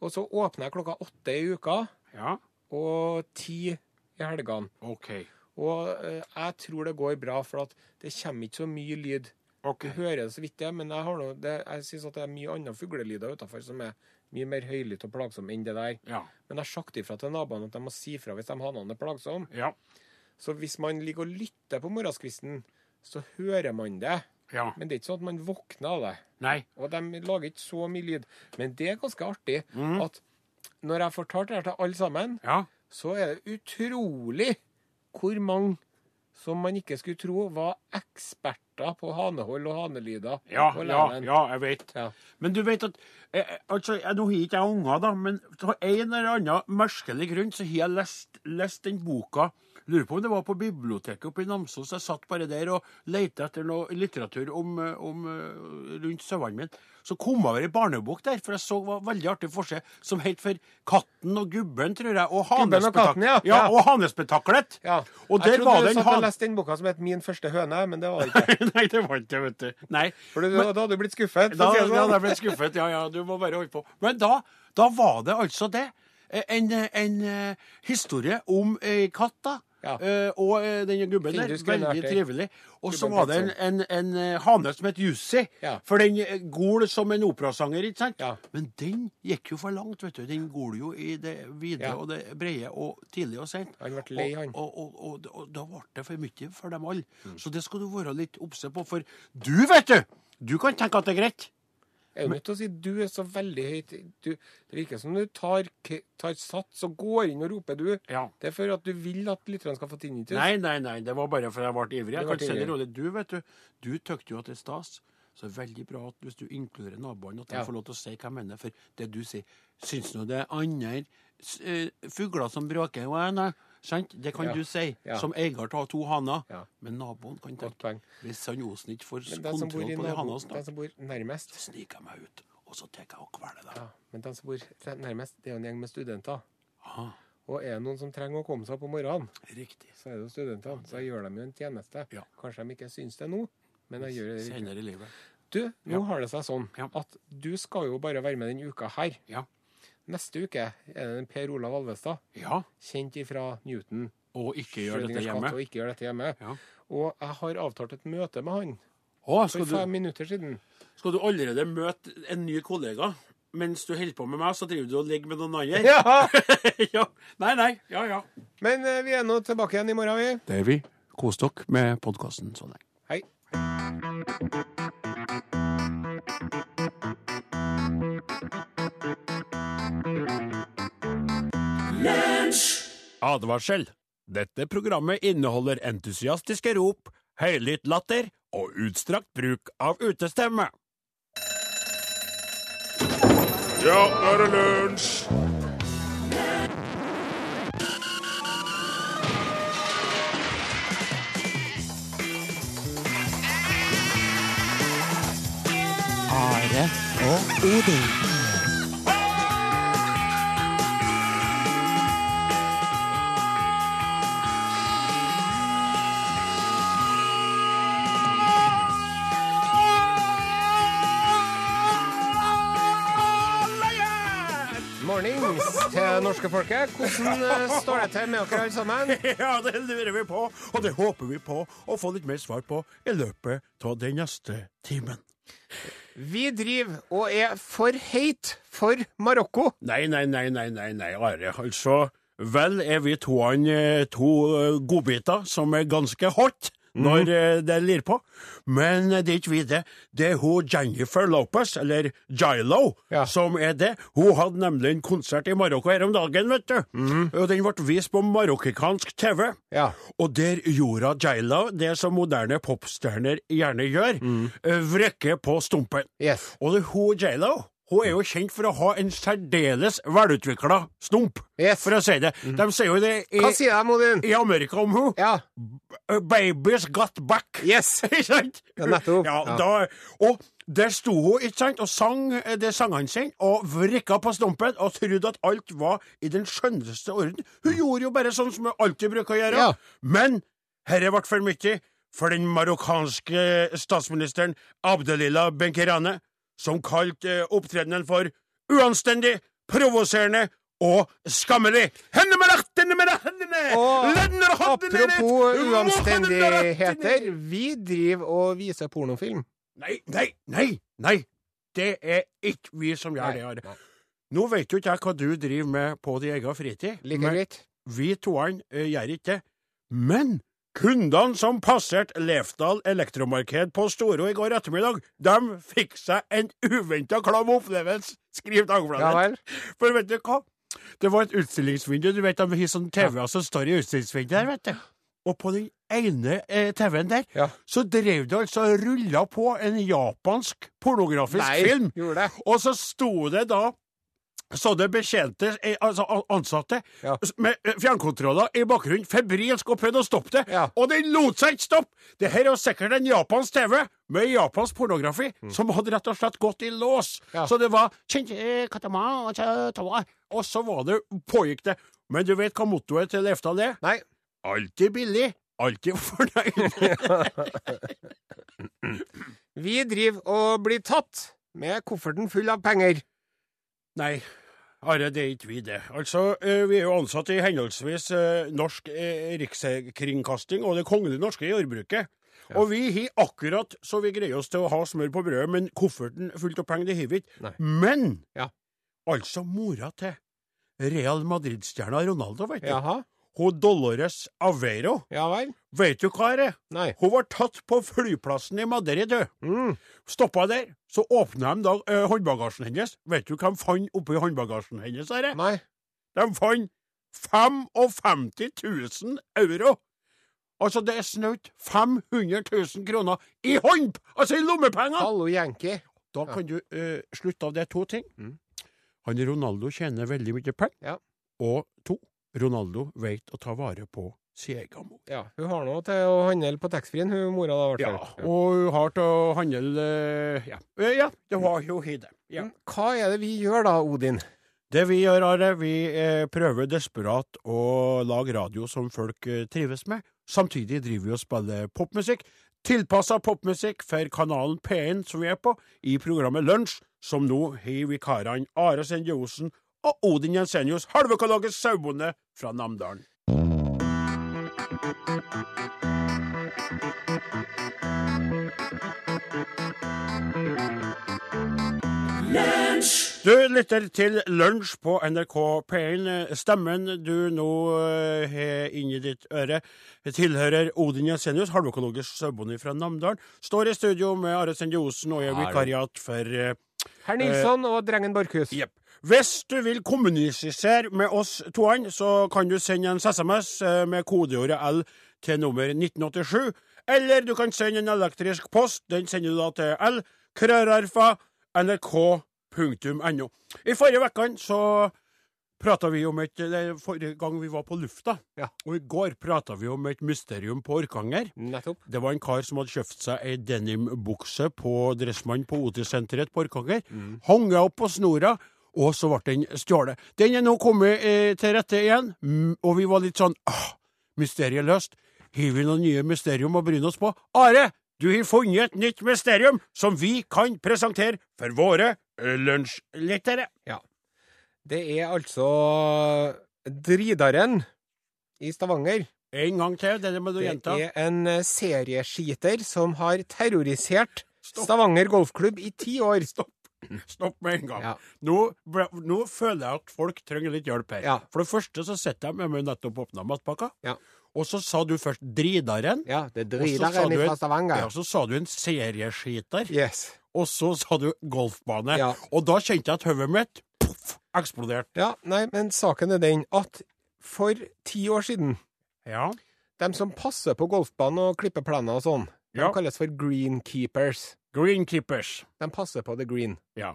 Speaker 2: Og så åpner jeg klokka åtte i uka.
Speaker 3: Ja.
Speaker 2: og ti i helgene.
Speaker 3: OK.
Speaker 2: Og eh, jeg tror det går bra, for at det kommer ikke så mye lyd. Du
Speaker 3: Ok.
Speaker 2: hører det så vidt, det, men jeg, har noe, det, jeg synes at det er mye andre fuglelyder utafor som er mye mer høylytte og plagsomme enn det der.
Speaker 3: Ja.
Speaker 2: Men jeg har sagt ifra til naboene at de må si ifra hvis de hanene er plagsomme.
Speaker 3: Ja.
Speaker 2: Så hvis man ligger og lytter på morgenskvisten, så hører man det.
Speaker 3: Ja.
Speaker 2: Men det er ikke sånn at man våkner av det.
Speaker 3: Nei.
Speaker 2: Og de lager ikke så mye lyd. Men det er ganske artig
Speaker 3: Mm.
Speaker 2: at når jeg fortalte det her til alle sammen,
Speaker 3: Ja.
Speaker 2: så er det utrolig hvor mange som man ikke skulle tro var eksperter farta på Hanehold og Hanelida.
Speaker 3: Ja,
Speaker 2: på
Speaker 3: ja,
Speaker 2: Læren.
Speaker 3: ja, jeg vet.
Speaker 2: Ja.
Speaker 3: Men du vet at eh, eh, altså, jeg, Nå har ikke jeg unger, da, men av en eller annen merkelig grunn så har jeg lest, lest den boka. Lurer på om det var på biblioteket oppe i Namsos. Jeg satt bare der og lette etter noe litteratur om, eh, om, eh, rundt sauene mine. Så kom jeg over ei barnebok der, for jeg så var veldig artig forskjell, som het for 'Katten og gubben', tror jeg. Og
Speaker 2: Gubben og katten, ja. Ja.
Speaker 3: ja, og Hanespetaklet.
Speaker 2: Ja.
Speaker 3: Og der
Speaker 2: jeg trodde
Speaker 3: var
Speaker 2: du
Speaker 3: det en
Speaker 2: satt og
Speaker 3: han...
Speaker 2: leste den boka som het Min første høne, men det var det ikke
Speaker 3: Nei, det var ikke det, vet du. Nei.
Speaker 2: For du, da hadde du blitt skuffet. for
Speaker 3: Da,
Speaker 2: å si det
Speaker 3: ja,
Speaker 2: sånn.
Speaker 3: da ble jeg skuffet. Ja, ja, du må bare holde på. Men da, da var det altså det. Eh, En, eh, en eh, historie om ei katt, da.
Speaker 2: Ja.
Speaker 3: Eh, og eh, den gubben der.
Speaker 2: Findus grønne
Speaker 3: Veldig
Speaker 2: erter.
Speaker 3: trivelig. Og så
Speaker 2: Gubben
Speaker 3: var det en, en, en eh, hane som het Jussi.
Speaker 2: Ja.
Speaker 3: For den eh, gol som en operasanger, ikke sant?
Speaker 2: Ja.
Speaker 3: Men den gikk jo for langt, vet du. Den gol jo i det vide
Speaker 2: Ja.
Speaker 3: og det brede og tidlig og seint.
Speaker 2: Han ble lei, han.
Speaker 3: Og, og, og, og da ble det for mye for dem alle. Så det skal du være litt obse på, for du, vet du! Du kan tenke at det er greit.
Speaker 2: Jeg er jo nødt til å si du er så veldig høyt du, Det virker som du tar, k- tar sats og går inn og roper du.
Speaker 3: Ja.
Speaker 2: Det er for at du vil at lytterne skal få tinnitus.
Speaker 3: Nei, nei, nei, det var bare fordi jeg ble ivrig. Jeg
Speaker 2: Du ble
Speaker 3: kan si det
Speaker 2: ivrig.
Speaker 3: rolig. Du vet du, du tøkte jo at det er stas. Så det er veldig bra at hvis du inkluderer naboene, at de
Speaker 2: Ja.
Speaker 3: får lov til å si hva jeg mener. For det du sier, syns nå det er andre s- eh, fugler som bråker og ene. Sant? Det kan
Speaker 2: Ja.
Speaker 3: du si,
Speaker 2: Ja.
Speaker 3: som eier av to haner.
Speaker 2: Ja.
Speaker 3: Men naboen kan
Speaker 2: Godt
Speaker 3: tenke
Speaker 2: poeng.
Speaker 3: Hvis han Osen ikke får
Speaker 2: Men den som bor, i
Speaker 3: kontroll på de
Speaker 2: nabo, den
Speaker 3: hanene snart,
Speaker 2: som bor nærmest
Speaker 3: sniker jeg meg ut, og så tar jeg og kveler
Speaker 2: ja,
Speaker 3: dem.
Speaker 2: Men den som bor nærmest, det er jo en gjeng med studenter.
Speaker 3: Aha,
Speaker 2: Og er det noen som trenger å komme seg opp om morgenen,
Speaker 3: Riktig.
Speaker 2: så er det jo studentene. Så jeg gjør dem jo en tjeneste.
Speaker 3: Ja.
Speaker 2: Kanskje de ikke syns det nå, men jeg gjør det likevel.
Speaker 3: Senere i livet.
Speaker 2: Du, nå har det seg sånn
Speaker 3: Ja.
Speaker 2: at du skal jo bare være med denne uka her.
Speaker 3: Ja.
Speaker 2: Neste uke er det en Per Olav Alvestad,
Speaker 3: ja.
Speaker 2: kjent ifra Newton.
Speaker 3: Og ikke gjør dette
Speaker 2: Schrødingers katt,
Speaker 3: hjemme.
Speaker 2: Og ikke gjør dette hjemme.
Speaker 3: Ja.
Speaker 2: Og jeg har avtalt et møte med han
Speaker 3: Å,
Speaker 2: for
Speaker 3: skal du...
Speaker 2: fem minutter siden.
Speaker 3: Skal du allerede møte en ny kollega mens du holder på med meg, så driver du og ligger med noen andre?
Speaker 2: Ja!
Speaker 3: ja. Nei, nei. Ja, ja.
Speaker 2: Men eh, vi er nå tilbake igjen i morgen, vi.
Speaker 3: Det er vi. Kos dere med sånn podkasten så lenge.
Speaker 2: Hei.
Speaker 3: Advarsel. Dette programmet inneholder entusiastiske rop, høylytt latter og utstrakt bruk av utestemme.
Speaker 1: Ja, nå er det lunsj!
Speaker 4: Are og Odin.
Speaker 2: Mornings til norske folket. Hvordan eh, står det til med dere alle sammen?
Speaker 3: Ja, det lurer vi på, og det håper vi på å få litt mer svar på i løpet av den neste timen.
Speaker 2: Vi driver og er for heit for Marokko.
Speaker 3: Nei, nei, nei, nei, nei, nei, Are. Altså, vel er vi toene eh, to eh, godbiter som er ganske hot når eh, det lir på, men eh, det er ikke vi det. Det er hun Jennifer Lopez, eller Jilo,
Speaker 2: Ja.
Speaker 3: som er det. Hun hadde nemlig en konsert i Marokko her om dagen, vet du. Og den ble vist på marokkansk TV.
Speaker 2: Ja.
Speaker 3: Og der gjorde Jilo det som moderne popstjerner gjerne gjør, eh, vrekke på stumpen.
Speaker 2: Yes.
Speaker 3: Og det er hun J.Lo. Hun er jo kjent for å ha en særdeles velutvikla stump,
Speaker 2: Yes. Mm.
Speaker 3: for å si det. De sier jo det i,
Speaker 2: Hva sier de, Odin?
Speaker 3: i Amerika om hun
Speaker 2: Ja.
Speaker 3: uh, Babies got back.
Speaker 2: Yes.
Speaker 3: Ikke sant?
Speaker 2: Ja, nettopp.
Speaker 3: Ja,
Speaker 2: Ja.
Speaker 3: Da, og der sto hun ikke sant, og sang eh, det sangene sine, og vrikka på stumpen og trodde at alt var i den skjønneste orden. Hun gjorde jo bare sånn som hun alltid bruker å gjøre.
Speaker 2: Mm. Ja.
Speaker 3: Men herre ble for mye for den marokkanske statsministeren Abdelillah Benkirane, som kalte eh, opptredenen for uanstendig, provoserende og skammelig. Henne med rett, henne med rett, henne!
Speaker 2: Og
Speaker 3: Lender hånden i ditt-
Speaker 2: apropos uanstendigheter, vi driver og viser pornofilm.
Speaker 3: Nei, nei, nei! nei. Det er ikke vi som gjør det. Are. Nå vet jo ikke jeg hva du driver med på din egen fritid.
Speaker 2: Like
Speaker 3: men
Speaker 2: greit.
Speaker 3: Vi toene eh, gjør ikke det. Men kundene som passerte Lefdal elektromarked på Storo i går ettermiddag, de fikk seg en uventa klam opplevelse, skriver Dagbladet.
Speaker 2: Ja vel.
Speaker 3: For vet du hva? Det var et utstillingsvindu. Du vet de har sånn TV-er som står i utstillingsvinduet her, vet du. Og på den ene eh, TV-en der,
Speaker 2: Ja.
Speaker 3: så drev det altså og rulla på en japansk pornografisk
Speaker 2: Nei,
Speaker 3: film.
Speaker 2: gjorde det?
Speaker 3: Og så sto det da sånne betjente, eh, altså an- ansatte,
Speaker 2: Ja.
Speaker 3: s- med eh, fjernkontroller i bakgrunnen, febrilsk og prøvde å stoppe det.
Speaker 2: Ja.
Speaker 3: Og den lot seg ikke stoppe! Det her er jo sikkert en japansk TV med japansk pornografi som hadde rett og slett gått i lås.
Speaker 2: Mm. Ja.
Speaker 3: Så det var eh, «Kjente katama, kjente toa», Og så var det, pågikk det. Men du vet hva mottoet til Lefdal er?
Speaker 2: Nei.
Speaker 3: Alltid billig, alltid fornøyd.
Speaker 2: Vi driver og blir tatt med kofferten full av penger.
Speaker 3: Nei, Are, det er ikke vi det. Altså, eh, vi er jo ansatt i henholdsvis eh, Norsk eh, Rikskringkasting og Det Kongelige Norske Jordbruket. Og vi har akkurat så vi greier oss til å ha smør på brødet, men kofferten fullt av penger, det har vi ikke.
Speaker 2: Nei.
Speaker 3: Men
Speaker 2: Ja.
Speaker 3: altså mora til Real Madrid-stjerna Ronaldo, vet du.
Speaker 2: Jaha.
Speaker 3: Hun Dolores Aveiro.
Speaker 2: Ja vel?
Speaker 3: Vet du hva det er?
Speaker 2: Nei.
Speaker 3: Hun var tatt på flyplassen i Madrid, du.
Speaker 2: Mm.
Speaker 3: Stoppa der, så åpna de da eh, håndbagasjen hennes. Vet du hva de fant oppi håndbagasjen hennes? Herre?
Speaker 2: Nei.
Speaker 3: De fant 55 000 euro! Altså, det er snaut 500 000 kroner i hånd! Altså, i lommepenger!
Speaker 2: Hallo, Yankee.
Speaker 3: Da kan du eh, slutte av det to ting.
Speaker 2: Mm.
Speaker 3: Han Ronaldo tjener veldig mye penger.
Speaker 2: Ja.
Speaker 3: Og to, Ronaldo vet å ta vare på sin egen mor.
Speaker 2: Ja, hun har noe til å handle på taxfree-en, hun mora da, i
Speaker 3: Ja,
Speaker 2: hvert fall.
Speaker 3: og hun har til å handle eh, Ja, Eh, ja det var jo i det. Ja.
Speaker 2: Men Mm, Hva er det vi gjør da, Odin?
Speaker 3: Det vi gjør, Are, vi eh, prøver desperat å lage radio som folk eh, trives med. Samtidig driver vi og spiller popmusikk. Tilpassa popmusikk for kanalen P1 som vi er på, i programmet Lunsj, som nå har vikarene Are Sende Osen og Odin Jensenius, halvøkologisk sauebonde fra Namdalen. Du lytter til Lunsj på NRK P1. Stemmen du nå eh, har inni ditt øre, tilhører Odin Jensenius, halvøkologisk sauebonde fra Namdalen. Står i studio med Are Sende Osen og er vikariat for eh,
Speaker 2: Herr Nilsson og drengen Borchhus.
Speaker 3: Jepp. Hvis du vil kommunisere med oss toene, så kan du sende en SMS eh, med kodeordet L til nummer 1987. Eller du kan sende en elektrisk post. Den sender du da til L. Krørarfa. NRK.no. I forrige uke så prata vi om et eller Forrige gang vi var på lufta,
Speaker 2: Ja.
Speaker 3: og i går prata vi om et mysterium på Orkanger.
Speaker 2: Nettopp.
Speaker 3: Det var en kar som hadde kjøpt seg ei denimbukse på Dressmann på Otissenteret på Orkanger.
Speaker 2: Mm.
Speaker 3: Hanga opp på snora, og så ble den stjålet. Den er nå kommet eh, til rette igjen, mm, og vi var litt sånn ah, Mysteriet løst. Har vi noen nye mysterium å bryne oss på? Are, du har funnet et nytt mysterium som vi kan presentere for våre eh, lunsjlyttere.
Speaker 2: Det er altså Dridaren i Stavanger.
Speaker 3: En gang til, denne må du
Speaker 2: Det
Speaker 3: gjenta.
Speaker 2: er en eh, serieskiter som har terrorisert
Speaker 3: Stopp.
Speaker 2: Stavanger golfklubb i ti år.
Speaker 3: Stopp med en gang.
Speaker 2: Ja.
Speaker 3: Nå, ble, nå føler jeg at folk trenger litt hjelp her.
Speaker 2: Ja.
Speaker 3: For det første så sitter jeg med meg nettopp åpna matpakka,
Speaker 2: Ja.
Speaker 3: og så sa du først 'dridaren'.
Speaker 2: Ja, det er
Speaker 3: og så sa
Speaker 2: Dridaren
Speaker 3: du
Speaker 2: fra
Speaker 3: en- Ja,
Speaker 2: Stavanger.
Speaker 3: så sa du en serieskiter,
Speaker 2: Yes.
Speaker 3: og så sa du golfbane.
Speaker 2: Ja.
Speaker 3: Og da kjente jeg at hodet mitt poff, eksploderte.
Speaker 2: Ja, nei, men saken er den at for ti år siden,
Speaker 3: Ja.
Speaker 2: de som passer på golfbanen og klipper plener og sånn, de
Speaker 3: Ja.
Speaker 2: kalles for greenkeepers.
Speaker 3: Greenkeepers.
Speaker 2: De passer på the green.
Speaker 3: Ja.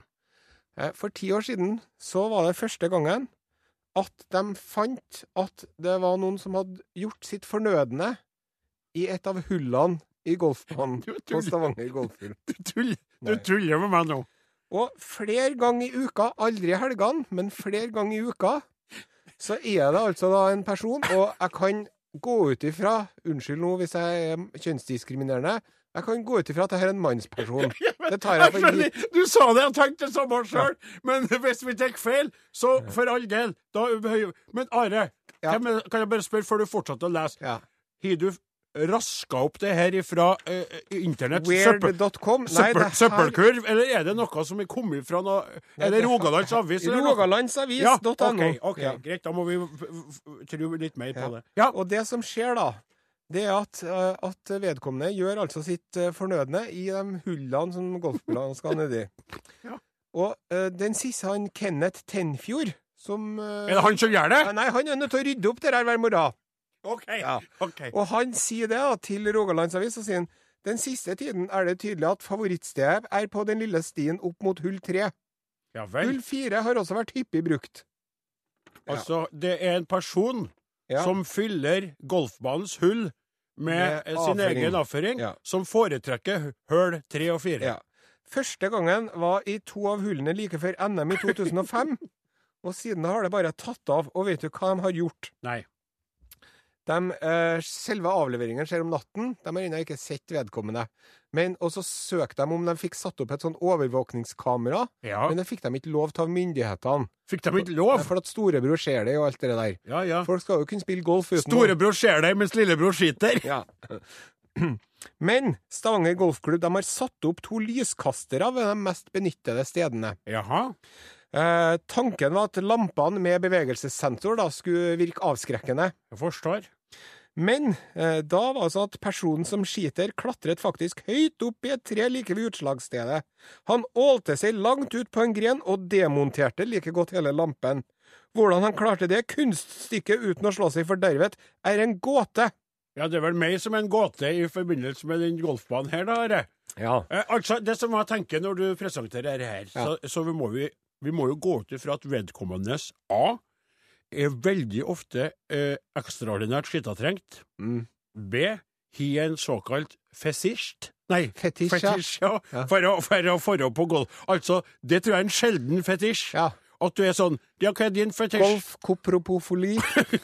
Speaker 2: Eh, For ti år siden så var det første gangen at de fant at det var noen som hadde gjort sitt fornødne i et av hullene i golfbanen
Speaker 3: Du
Speaker 2: på
Speaker 3: tuller.
Speaker 2: Stavanger golfklubb.
Speaker 3: Du tuller, du
Speaker 2: Nei.
Speaker 3: tuller med meg nå.
Speaker 2: Og flere ganger i uka, aldri i helgene, men flere ganger i uka, så er det altså da en person, og jeg kan gå ut ifra Unnskyld nå hvis jeg er kjønnsdiskriminerende. Jeg kan gå ut ifra at dette er en mannsperson. Det tar jeg
Speaker 3: Jeg
Speaker 2: for gitt.
Speaker 3: skjønner, du sa det, jeg tenkte det samme sjøl, men hvis vi tar feil, så for all del, da behøver Men Are,
Speaker 2: Ja.
Speaker 3: hvem er- kan jeg bare spørre før du fortsetter å lese,
Speaker 2: Ja.
Speaker 3: har du raska opp det her ifra eh, internett? Søppel-
Speaker 2: Weird.com. Nei,
Speaker 3: søppel-
Speaker 2: det her
Speaker 3: Søppelkurv, eller er det noe som er kommet fra noe Er det
Speaker 2: det-
Speaker 3: Rogalands Avis? eller noe?
Speaker 2: Rogalandsavis.no.
Speaker 3: Ja, ok, ok,
Speaker 2: Ja.
Speaker 3: greit, da må vi f- f- f- tro litt mer på
Speaker 2: Ja.
Speaker 3: det. Ja,
Speaker 2: Og det som skjer da, det er at, eh, at vedkommende gjør altså sitt eh, fornødne i de hullene som golfballene skal nedi.
Speaker 3: Ja.
Speaker 2: Og eh, den siste, han Kenneth Tenfjord, som eh,
Speaker 3: er det han som gjør det?
Speaker 2: Nei, han er nødt til å rydde opp det der hver morgen.
Speaker 3: OK.
Speaker 2: Ja.
Speaker 3: ok.
Speaker 2: Og han sier det da, til Rogalandsavis, og sier han, den siste tiden er det tydelig at favorittstedet er på den lille stien opp mot hull 3.
Speaker 3: Ja vel.
Speaker 2: Hull 4 har også vært hyppig brukt.
Speaker 3: Altså, det er en person
Speaker 2: Ja.
Speaker 3: som fyller golfbanens hull med,
Speaker 2: Med
Speaker 3: eh, sin
Speaker 2: avføring.
Speaker 3: egen avføring,
Speaker 2: Ja.
Speaker 3: som foretrekker høl tre og fire.
Speaker 2: Ja. Første gangen var i to av hullene like før NM i 2005, og siden har det bare tatt av, og vet du hva de har gjort?
Speaker 3: Nei.
Speaker 2: De, eh, selve avleveringen skjer om natten. De har ennå ikke sett vedkommende. Men, og så søkte de om de fikk satt opp et sånn overvåkningskamera,
Speaker 3: Ja.
Speaker 2: men det fikk de ikke lov til av myndighetene.
Speaker 3: Fikk de ikke
Speaker 2: Nei,
Speaker 3: lov?
Speaker 2: For at storebror ser det og alt det der.
Speaker 3: Ja, ja.
Speaker 2: Folk skal jo kunne spille golf uten
Speaker 3: Storebror ser deg mens lillebror skiter.
Speaker 2: Ja. Men Stavanger Golfklubb de har satt opp to lyskastere ved de mest benyttede stedene.
Speaker 3: Jaha.
Speaker 2: Eh, tanken var at lampene med bevegelsessensor da skulle virke avskrekkende.
Speaker 3: Jeg forstår.
Speaker 2: Men eh, da var det sånn at personen som skiter, klatret faktisk høyt opp i et tre like ved utslagsstedet. Han ålte seg langt ut på en gren og demonterte like godt hele lampen. Hvordan han klarte det kunststykket uten å slå seg fordervet, er en gåte.
Speaker 3: Ja, det er vel meg som er en gåte i forbindelse med den golfbanen her, da, Are.
Speaker 2: Ja.
Speaker 3: Eh, altså, det som jeg tenker når du presenterer det her, så, så vi, må vi, vi må jo gå ut ifra at vedkommendes A er veldig ofte eh, ekstraordinært skittatrengt.
Speaker 2: Mm.
Speaker 3: B har en såkalt fesisht. Nei,
Speaker 2: Fetisj, ja.
Speaker 3: fetisj ja.
Speaker 2: Ja.
Speaker 3: For, å, for å forå på golf. Altså, det tror jeg er en sjelden fetisj.
Speaker 2: ja.
Speaker 3: At du er sånn Ja, hva er din fetisj?
Speaker 2: Golf kopropofoli.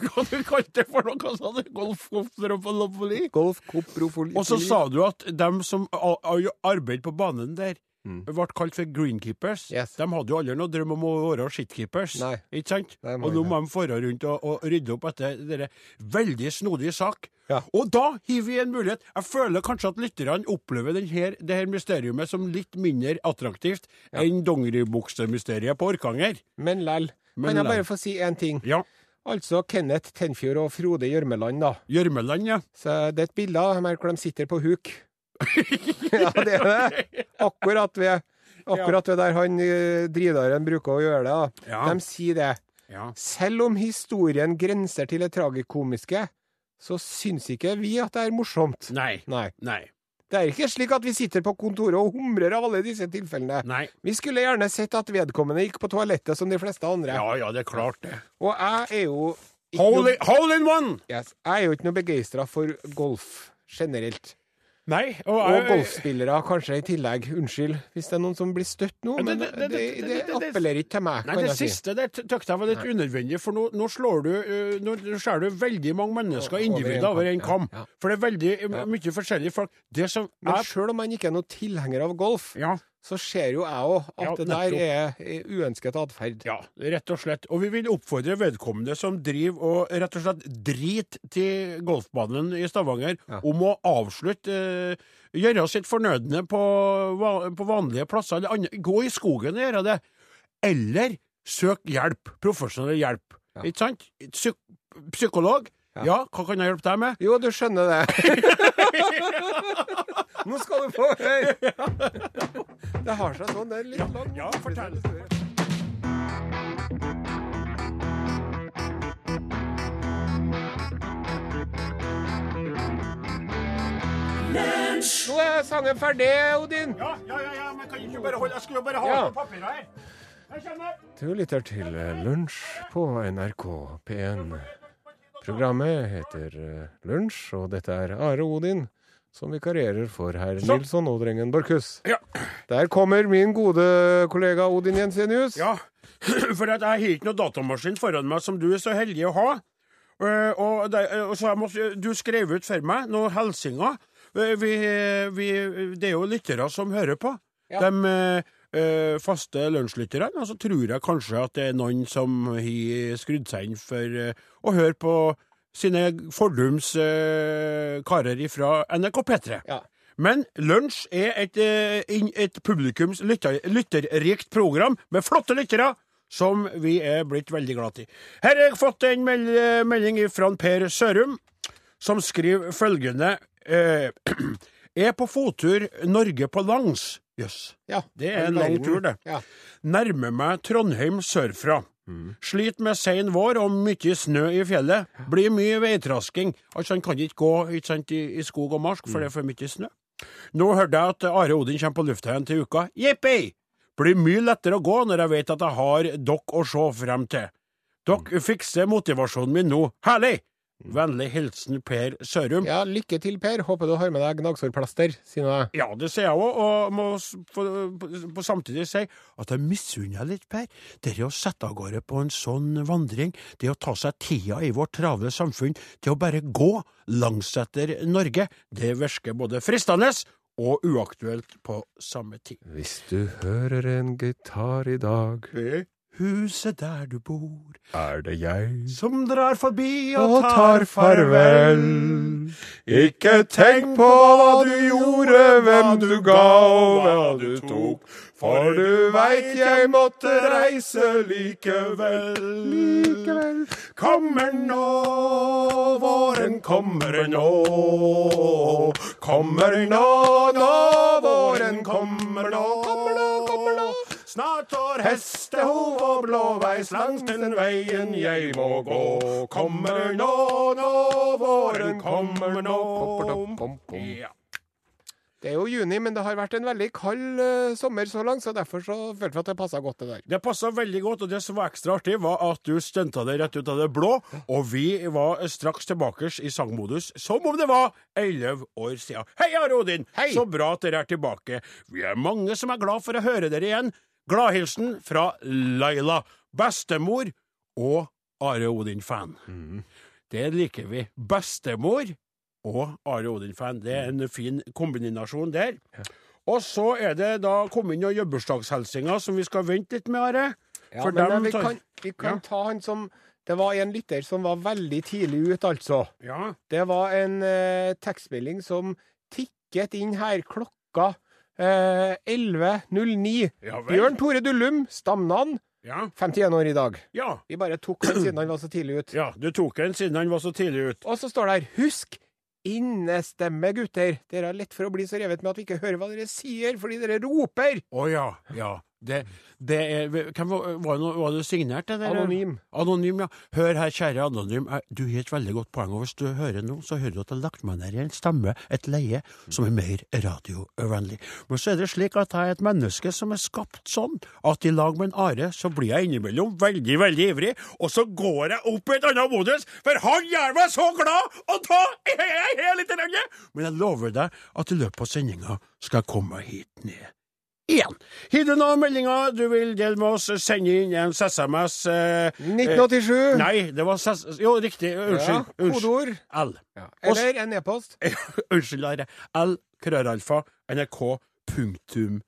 Speaker 3: Hva du kalte det for noe? Hva sa du? Golf, golf, golf,
Speaker 2: Golf kopropofoli.
Speaker 3: og så sa du at dem som a- a- arbeider på banen der, ble kalt for greenkeepers.
Speaker 2: Mm. Yes.
Speaker 3: De hadde jo aldri noen drøm om å være shitkeepers.
Speaker 2: Nei.
Speaker 3: Ikke sant?
Speaker 2: Nei,
Speaker 3: og nå må de fare rundt og, og rydde opp etter denne veldig snodige sak.
Speaker 2: Ja.
Speaker 3: Og da har vi en mulighet. Jeg føler kanskje at lytterne opplever den her, det her mysteriumet som litt mindre attraktivt enn dongeribuksemysteriet på Orkanger.
Speaker 2: Men lell.
Speaker 3: Men
Speaker 2: Kan jeg
Speaker 3: lell.
Speaker 2: bare få si én ting?
Speaker 3: Ja.
Speaker 2: Altså Kenneth Tenfjord og Frode Gjørmeland, da.
Speaker 3: Gjørmeland, ja.
Speaker 2: Så det er et bilde av dem her hvor de sitter på huk. ja, det er det. Akkurat ved Akkurat ved der han eh, Dridaren bruker å gjøre det. da.
Speaker 3: Ja.
Speaker 2: De sier det.
Speaker 3: ja.
Speaker 2: Selv om historien grenser til det tragikomiske, så syns ikke vi at det er morsomt.
Speaker 3: Nei.
Speaker 2: Nei.
Speaker 3: Nei.
Speaker 2: Det er ikke slik at vi sitter på kontoret og humrer av alle disse tilfellene.
Speaker 3: Nei.
Speaker 2: Vi skulle gjerne sett at vedkommende gikk på toalettet som de fleste andre.
Speaker 3: Ja, ja, det er klart, det.
Speaker 2: Og jeg er jo ikke
Speaker 3: Hole,
Speaker 2: noe,
Speaker 3: hole in one!
Speaker 2: yes, jeg er jo ikke noe begeistra for golf generelt.
Speaker 3: Nei. Og,
Speaker 2: Og
Speaker 3: jeg-
Speaker 2: golfspillere kanskje i tillegg. Unnskyld hvis det er noen som blir støtt nå,
Speaker 3: Ja, det-
Speaker 2: men
Speaker 3: det- det-
Speaker 2: det,
Speaker 3: det-
Speaker 2: det
Speaker 3: det- det-
Speaker 2: appellerer ikke til meg,
Speaker 3: Nei,
Speaker 2: kan
Speaker 3: det
Speaker 2: jeg si.
Speaker 3: siste der tøkte jeg var litt unødvendig, for nå, nå slår du eh, Nå skjærer du veldig mange mennesker,
Speaker 2: Over en
Speaker 3: individer,
Speaker 2: kam,
Speaker 3: over en kam.
Speaker 2: ja, ja.
Speaker 3: For det er veldig eh, mye forskjellige folk. Det som
Speaker 2: Men
Speaker 3: jeg
Speaker 2: sjøl om man ikke er noen tilhenger av golf,
Speaker 3: Ja.
Speaker 2: så ser jo jeg òg at
Speaker 3: Ja,
Speaker 2: det der er er uønsket atferd.
Speaker 3: Ja, rett og slett. Og vi vil oppfordre vedkommende som driver og rett og slett drit til golfbanen i Stavanger,
Speaker 2: Ja.
Speaker 3: om å avslutte eh, Gjøre sitt fornødne på, va- på vanlige plasser. Eller andre. Gå i skogen og gjøre det. Eller søk hjelp. Profesjonell hjelp. Ikke sant? Psyk psykolog. Ja. hva kan jeg hjelpe deg med?
Speaker 2: Jo, du skjønner det. Nå skal du få høre! Det har seg sånn. Det er litt langt.
Speaker 3: Ja, fortell.
Speaker 2: Nå er sangen ferdig, Odin.
Speaker 3: Ja, ja, ja, ja men kan ikke bare holde Jeg skulle jo bare ha
Speaker 2: Ja.
Speaker 3: på papiret her. Jeg kjenner
Speaker 2: Du lytter til Lunsj på NRK P1. Programmet heter eh, Lunsj, og dette er Are Odin som vikarierer for herr
Speaker 3: Så.
Speaker 2: Nilsson og drengen Borchhus.
Speaker 3: Ja.
Speaker 2: Der kommer min gode kollega Odin Jensenius.
Speaker 3: Ja, for at jeg har ikke noen datamaskin foran meg som du er så heldig å ha. Eh, og, det, eh, og så jeg må, du skrev ut for meg noen hilsener. Eh, vi, vi, det er jo lyttere som hører på.
Speaker 2: Ja.
Speaker 3: De eh, eh, faste lunsjlytterne. Og så tror jeg kanskje at det er noen som har skrudd seg inn for eh, å høre på sine fordums eh, karer fra NRK P3.
Speaker 2: Ja.
Speaker 3: Men Lunsj er et, eh, inn- et publikums lytter, lytterrikt program med flotte lyttere, som vi er blitt veldig glad i. Her har jeg fått en mel melding fra Per Sørum, som skriver følgende eh, Er på fottur Norge på langs. Jøss.
Speaker 2: Ja,
Speaker 3: Det er en lang tur, det.
Speaker 2: Ja.
Speaker 3: Nærmer meg Trondheim sørfra. Sliter med sein vår og mye snø i fjellet. Blir mye veitrasking. Altså, han kan ikke gå ikke sant, i, i skog og marsk, for det er for mye snø. Nå hørte jeg at Are Odin kommer på lufta igjen til uka. Jippi! Blir mye lettere å gå når jeg vet at jeg har dere å se frem til. Dere fikser motivasjonen min nå. Herlig! Vennlig hilsen Per Sørum.
Speaker 2: Ja, lykke til, Per. Håper du har med deg gnagsårplaster, sier nå jeg.
Speaker 3: Ja, det sier jeg òg, og må s- på- på- på samtidig si at jeg misunner deg litt, Per. Det å sette av gårde på en sånn vandring, det å ta seg tida i vårt travle samfunn til å bare gå langs etter Norge, det virker både fristende og uaktuelt på samme tid.
Speaker 2: Hvis du hører en gitar i dag,
Speaker 3: Huset der du bor,
Speaker 2: er det jeg
Speaker 3: som drar forbi
Speaker 2: og tar farvel. Ikke tenk på hva du gjorde, hvem du ga og hva du tok, for du veit jeg måtte reise likevel. Likevel.
Speaker 3: Kommer nå, våren kommer nå. Kommer nå, nå, våren kommer nå. Kommer nå, kommer nå. Snart står hestehov og blåveis langs den veien jeg må gå. Kommer nå, nå, våren kommer nå. Ja.
Speaker 2: Det er jo juni, men det har vært en veldig kald eh, sommer så langt, så derfor så følte vi at det passa godt, det der.
Speaker 3: Det passa veldig godt, og det som var ekstra artig, var at du stunta deg rett ut av det blå, og vi var straks tilbake i sangmodus, som om det var elleve år siden. Hei, Are Odin!
Speaker 2: Hei!
Speaker 3: Så bra at dere er tilbake. Vi er mange som er glad for å høre dere igjen. Gladhilsen fra Laila, bestemor og Are Odin-fan. Det liker vi. Bestemor og Are Odin-fan. Det er en fin kombinasjon der. Og så er det da kommet inn noen bursdagshilsener som vi skal vente litt med, Are.
Speaker 2: Ja,
Speaker 3: For
Speaker 2: men
Speaker 3: dem
Speaker 2: eh, vi
Speaker 3: tar-
Speaker 2: kan, vi kan
Speaker 3: Ja.
Speaker 2: ta han som Det var en lytter som var veldig tidlig ut, altså.
Speaker 3: Ja.
Speaker 2: Det var en eh, tekstmelding som tikket inn her klokka eh, 11.09.
Speaker 3: Ja vel.
Speaker 2: Bjørn Tore Dullum, stamnavn,
Speaker 3: Ja.
Speaker 2: 51 år i dag.
Speaker 3: ja.
Speaker 2: Vi bare tok han siden han var så tidlig ut.
Speaker 3: Ja, du tok en siden han var så tidlig ut.
Speaker 2: Og så står det her Husk innestemme, gutter. Dere har lett for å bli så revet med at vi ikke hører hva dere sier, fordi dere roper.
Speaker 3: Å ja. Ja. Det, det er hvem var, var, det noe, var det signert, det der?
Speaker 2: Anonym.
Speaker 3: Anonym, ja. Hør her, kjære Anonym. jeg- Du har et veldig godt poeng. og Hvis du hører nå, så hører du at jeg har lagt meg ned i en stemme, et leie, som er mer radiovennlig. Men så er det slik at jeg er et menneske som er skapt sånn at i lag med en Are, så blir jeg innimellom veldig, veldig ivrig, og så går jeg opp i et annet modus, for han gjør meg så glad, og da er jeg helt i terrenget! Men jeg lover deg at i løpet av sendinga skal jeg komme meg hit ned igjen. Har du noen meldinger du vil dele med oss, send inn en SMS. Eh, eh,
Speaker 2: 1987.
Speaker 3: Nei, det var ses, Jo, riktig. Unnskyld.
Speaker 2: Ja, kodeord.
Speaker 3: L.
Speaker 2: Ja.
Speaker 3: Og s-
Speaker 2: Eller en e-post.
Speaker 3: Unnskyld, Are. L. Krøralfa. NRK. Punktum.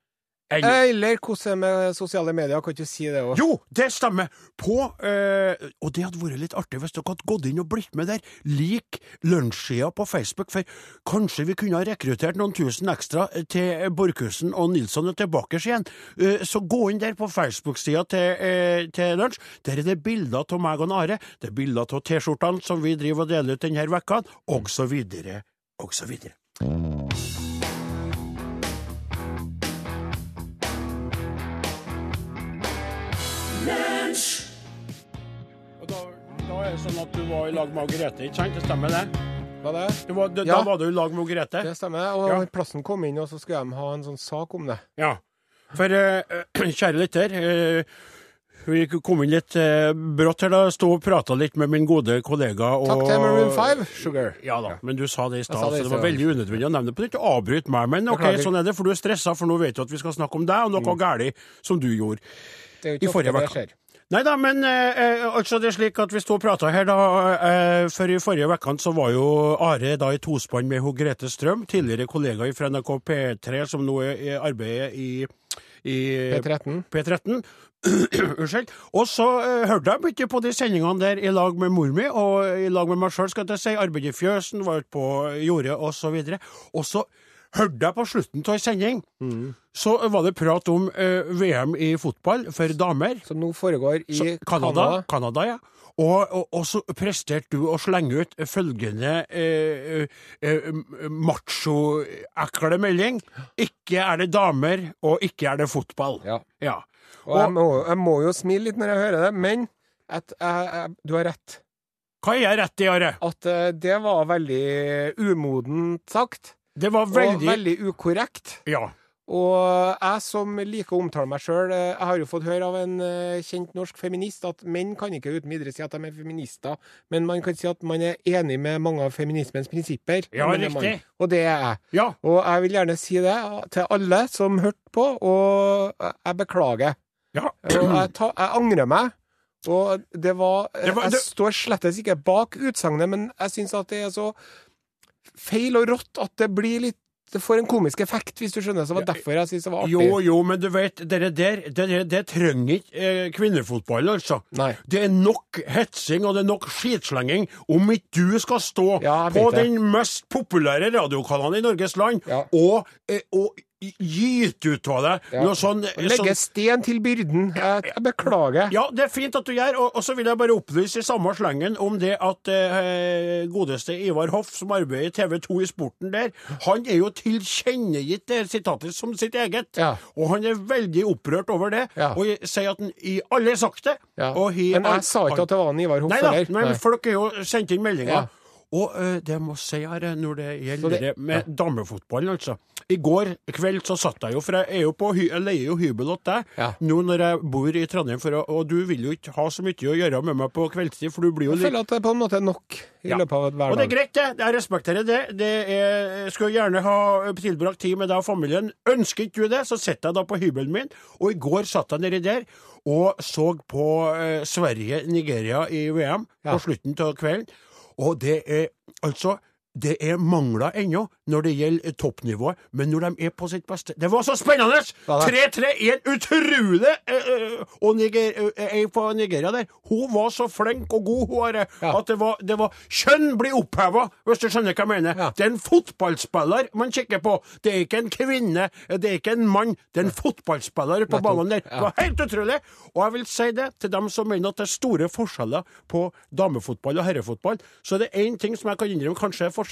Speaker 3: N.
Speaker 2: Eller hvordan med sosiale medier? Kan ikke du si det òg?
Speaker 3: Jo, det stemmer! På eh, Og det hadde vært litt artig hvis dere hadde gått inn og blitt med der. Lik lunsjsida på Facebook, for kanskje vi kunne ha rekruttert noen tusen ekstra eh, til Borchhusen og Nilsson er tilbake igjen. Eh, så gå inn der på Facebook-sida til, eh, til lunsj. Der er det bilder av meg og Are. Det er bilder av T-skjortene som vi driver og deler ut denne vekka, og så videre, og så videre. Og da, da er det sånn at du var i lag med Grete, ikke sant? Det stemmer det?
Speaker 2: Hva det?
Speaker 3: Du var, da,
Speaker 2: Ja.
Speaker 3: da var du i lag med Grete?
Speaker 2: Det stemmer. Og
Speaker 3: Ja.
Speaker 2: Plassen kom inn, og så skulle de ha en sånn sak om det.
Speaker 3: Ja. For eh, kjære lytter, eh, vi kom inn litt eh, brått her da. Sto og prata litt med min gode kollega. Og,
Speaker 2: Takk til Maroon 5, Sugar.
Speaker 3: Ja da, men du sa det i stad,
Speaker 2: sa det i
Speaker 3: så det var
Speaker 2: stad.
Speaker 3: veldig unødvendig å nevne det på nytt. Avbryt meg, men ok,
Speaker 2: Beklager. Mm.
Speaker 3: sånn er det, for du er stressa, for nå vet du at vi skal snakke om deg og noe galt som du gjorde.
Speaker 2: Det er jo
Speaker 3: I
Speaker 2: ikke
Speaker 3: forrige
Speaker 2: ofte det
Speaker 3: vekka.
Speaker 2: skjer.
Speaker 3: Nei da, men eh, eh, altså det er slik at vi sto og prata her, da. Eh, for i forrige uke så var jo Are da i tospann med hun Grete Strøm, tidligere kollega fra NRK P3, som nå er, er arbeider i, i
Speaker 2: P13.
Speaker 3: P13. Unnskyld. Og så eh, hørte jeg mye på de sendingene der i lag med mor mi, og i lag med meg sjøl, skal jeg si. Arbeid i fjøsen, var ute på jordet, og så videre. Og så hørte jeg på slutten av ei sending, så var det prat om eh, VM i fotball for damer.
Speaker 2: Som nå foregår i
Speaker 3: Så, Canada,
Speaker 2: Canada.
Speaker 3: Canada, ja. Og, og, og så presterte du å slenge ut følgende eh, eh, eh, macho-ekle melding. Ikke er det damer, og ikke er det fotball.
Speaker 2: Ja.
Speaker 3: Ja.
Speaker 2: Og jeg må, jeg må jo smile litt når jeg hører det, men at jeg- jeg- Du har rett.
Speaker 3: Hva er jeg rett i, Are?
Speaker 2: At eh, det var veldig umodent sagt.
Speaker 3: Det var
Speaker 2: Og
Speaker 3: veldig
Speaker 2: veldig ukorrekt.
Speaker 3: Ja.
Speaker 2: Og jeg som liker å omtale meg sjøl, jeg har jo fått høre av en eh, kjent norsk feminist at menn kan ikke uten videre si at de er feminister, men man kan si at man er enig med mange av feminismens prinsipper.
Speaker 3: Ja,
Speaker 2: når man er mann.
Speaker 3: riktig.
Speaker 2: Og det er jeg.
Speaker 3: ja.
Speaker 2: Og jeg vil gjerne si det til alle som hørte på, og jeg beklager.
Speaker 3: Ja.
Speaker 2: Og jeg, ta, jeg angrer meg. Og det var,
Speaker 3: Det var- det-
Speaker 2: Jeg står slettes ikke bak utsagnet, men jeg syns at det er så feil og rått at det blir litt Det får en komisk effekt, hvis du skjønner. Så det var derfor jeg syns det var artig.
Speaker 3: Jo, jo, men du vet, dere der, det, det, det trenger ikke eh, kvinnefotball, altså.
Speaker 2: Nei.
Speaker 3: Det er nok hetsing og det er nok skitslenging om ikke du skal stå
Speaker 2: Ja, jeg
Speaker 3: på
Speaker 2: vet det.
Speaker 3: den mest populære radiokanalen i Norges land
Speaker 2: Ja.
Speaker 3: og, eh, og gyte ut av deg
Speaker 2: Ja.
Speaker 3: noe sånn,
Speaker 2: Legge
Speaker 3: sånn
Speaker 2: sten til byrden. Jeg, jeg beklager.
Speaker 3: ja, det er fint at du gjør, og, og så vil jeg bare opplyse i samme slengen om det at eh, godeste Ivar Hoff, som arbeider i TV 2 i Sporten der, han er jo tilkjennegitt det sitatet som sitt eget,
Speaker 2: Ja.
Speaker 3: og han er veldig opprørt over det,
Speaker 2: Ja.
Speaker 3: og jeg sier at han i alle har sagt det.
Speaker 2: Ja.
Speaker 3: og he-
Speaker 2: Men jeg sa ikke at det var en Ivar Hoff
Speaker 3: Nei da,
Speaker 2: heller.
Speaker 3: men
Speaker 2: Nei.
Speaker 3: folk er jo sendt inn meldinger.
Speaker 2: Ja.
Speaker 3: Og eh, det må jeg si her, eh, når det
Speaker 2: Så
Speaker 3: gjelder det,
Speaker 2: det-
Speaker 3: med damefotballen, altså. I går kveld så satt jeg jo, for jeg, er jo på, hy- jeg leier jo hybel til deg
Speaker 2: Ja.
Speaker 3: nå når jeg bor i Trondheim, for, å- og du vil jo ikke ha så mye å gjøre med meg på kveldstid, for du blir jo
Speaker 2: Jeg
Speaker 3: litt
Speaker 2: føler at det på en måte er nok i
Speaker 3: Ja.
Speaker 2: løpet av et
Speaker 3: og det er
Speaker 2: hverdag.
Speaker 3: greit, det. Jeg respekterer det. det er, jeg skulle gjerne ha eh, tilbrakt tid med deg og familien. Ønsket du det, så sitter jeg da på hybelen min. Og i går satt jeg nedi der og så på eh, Sverige-Nigeria i VM på slutten av kvelden. Og det er altså det er mangler ennå når det gjelder toppnivået, men når de er på sitt beste Det var så spennende!
Speaker 2: Ja, det.
Speaker 3: 3-3 i en utrolig eh, eh, Og Niger, eh, ei fra Nigeria der, hun var så flink og god, hun Are,
Speaker 2: Ja.
Speaker 3: at det var, det var Kjønn blir oppheva, hvis du skjønner hva jeg mener.
Speaker 2: Ja.
Speaker 3: Det er en fotballspiller man kikker på. Det er ikke en kvinne, det er ikke en mann. Det er en fotballspiller på banen der. Det var helt utrolig! Og jeg vil si det til dem som mener at det er store forskjeller på damefotball og herrefotball, så er det én ting som jeg kan innrømme kanskje er forskjell,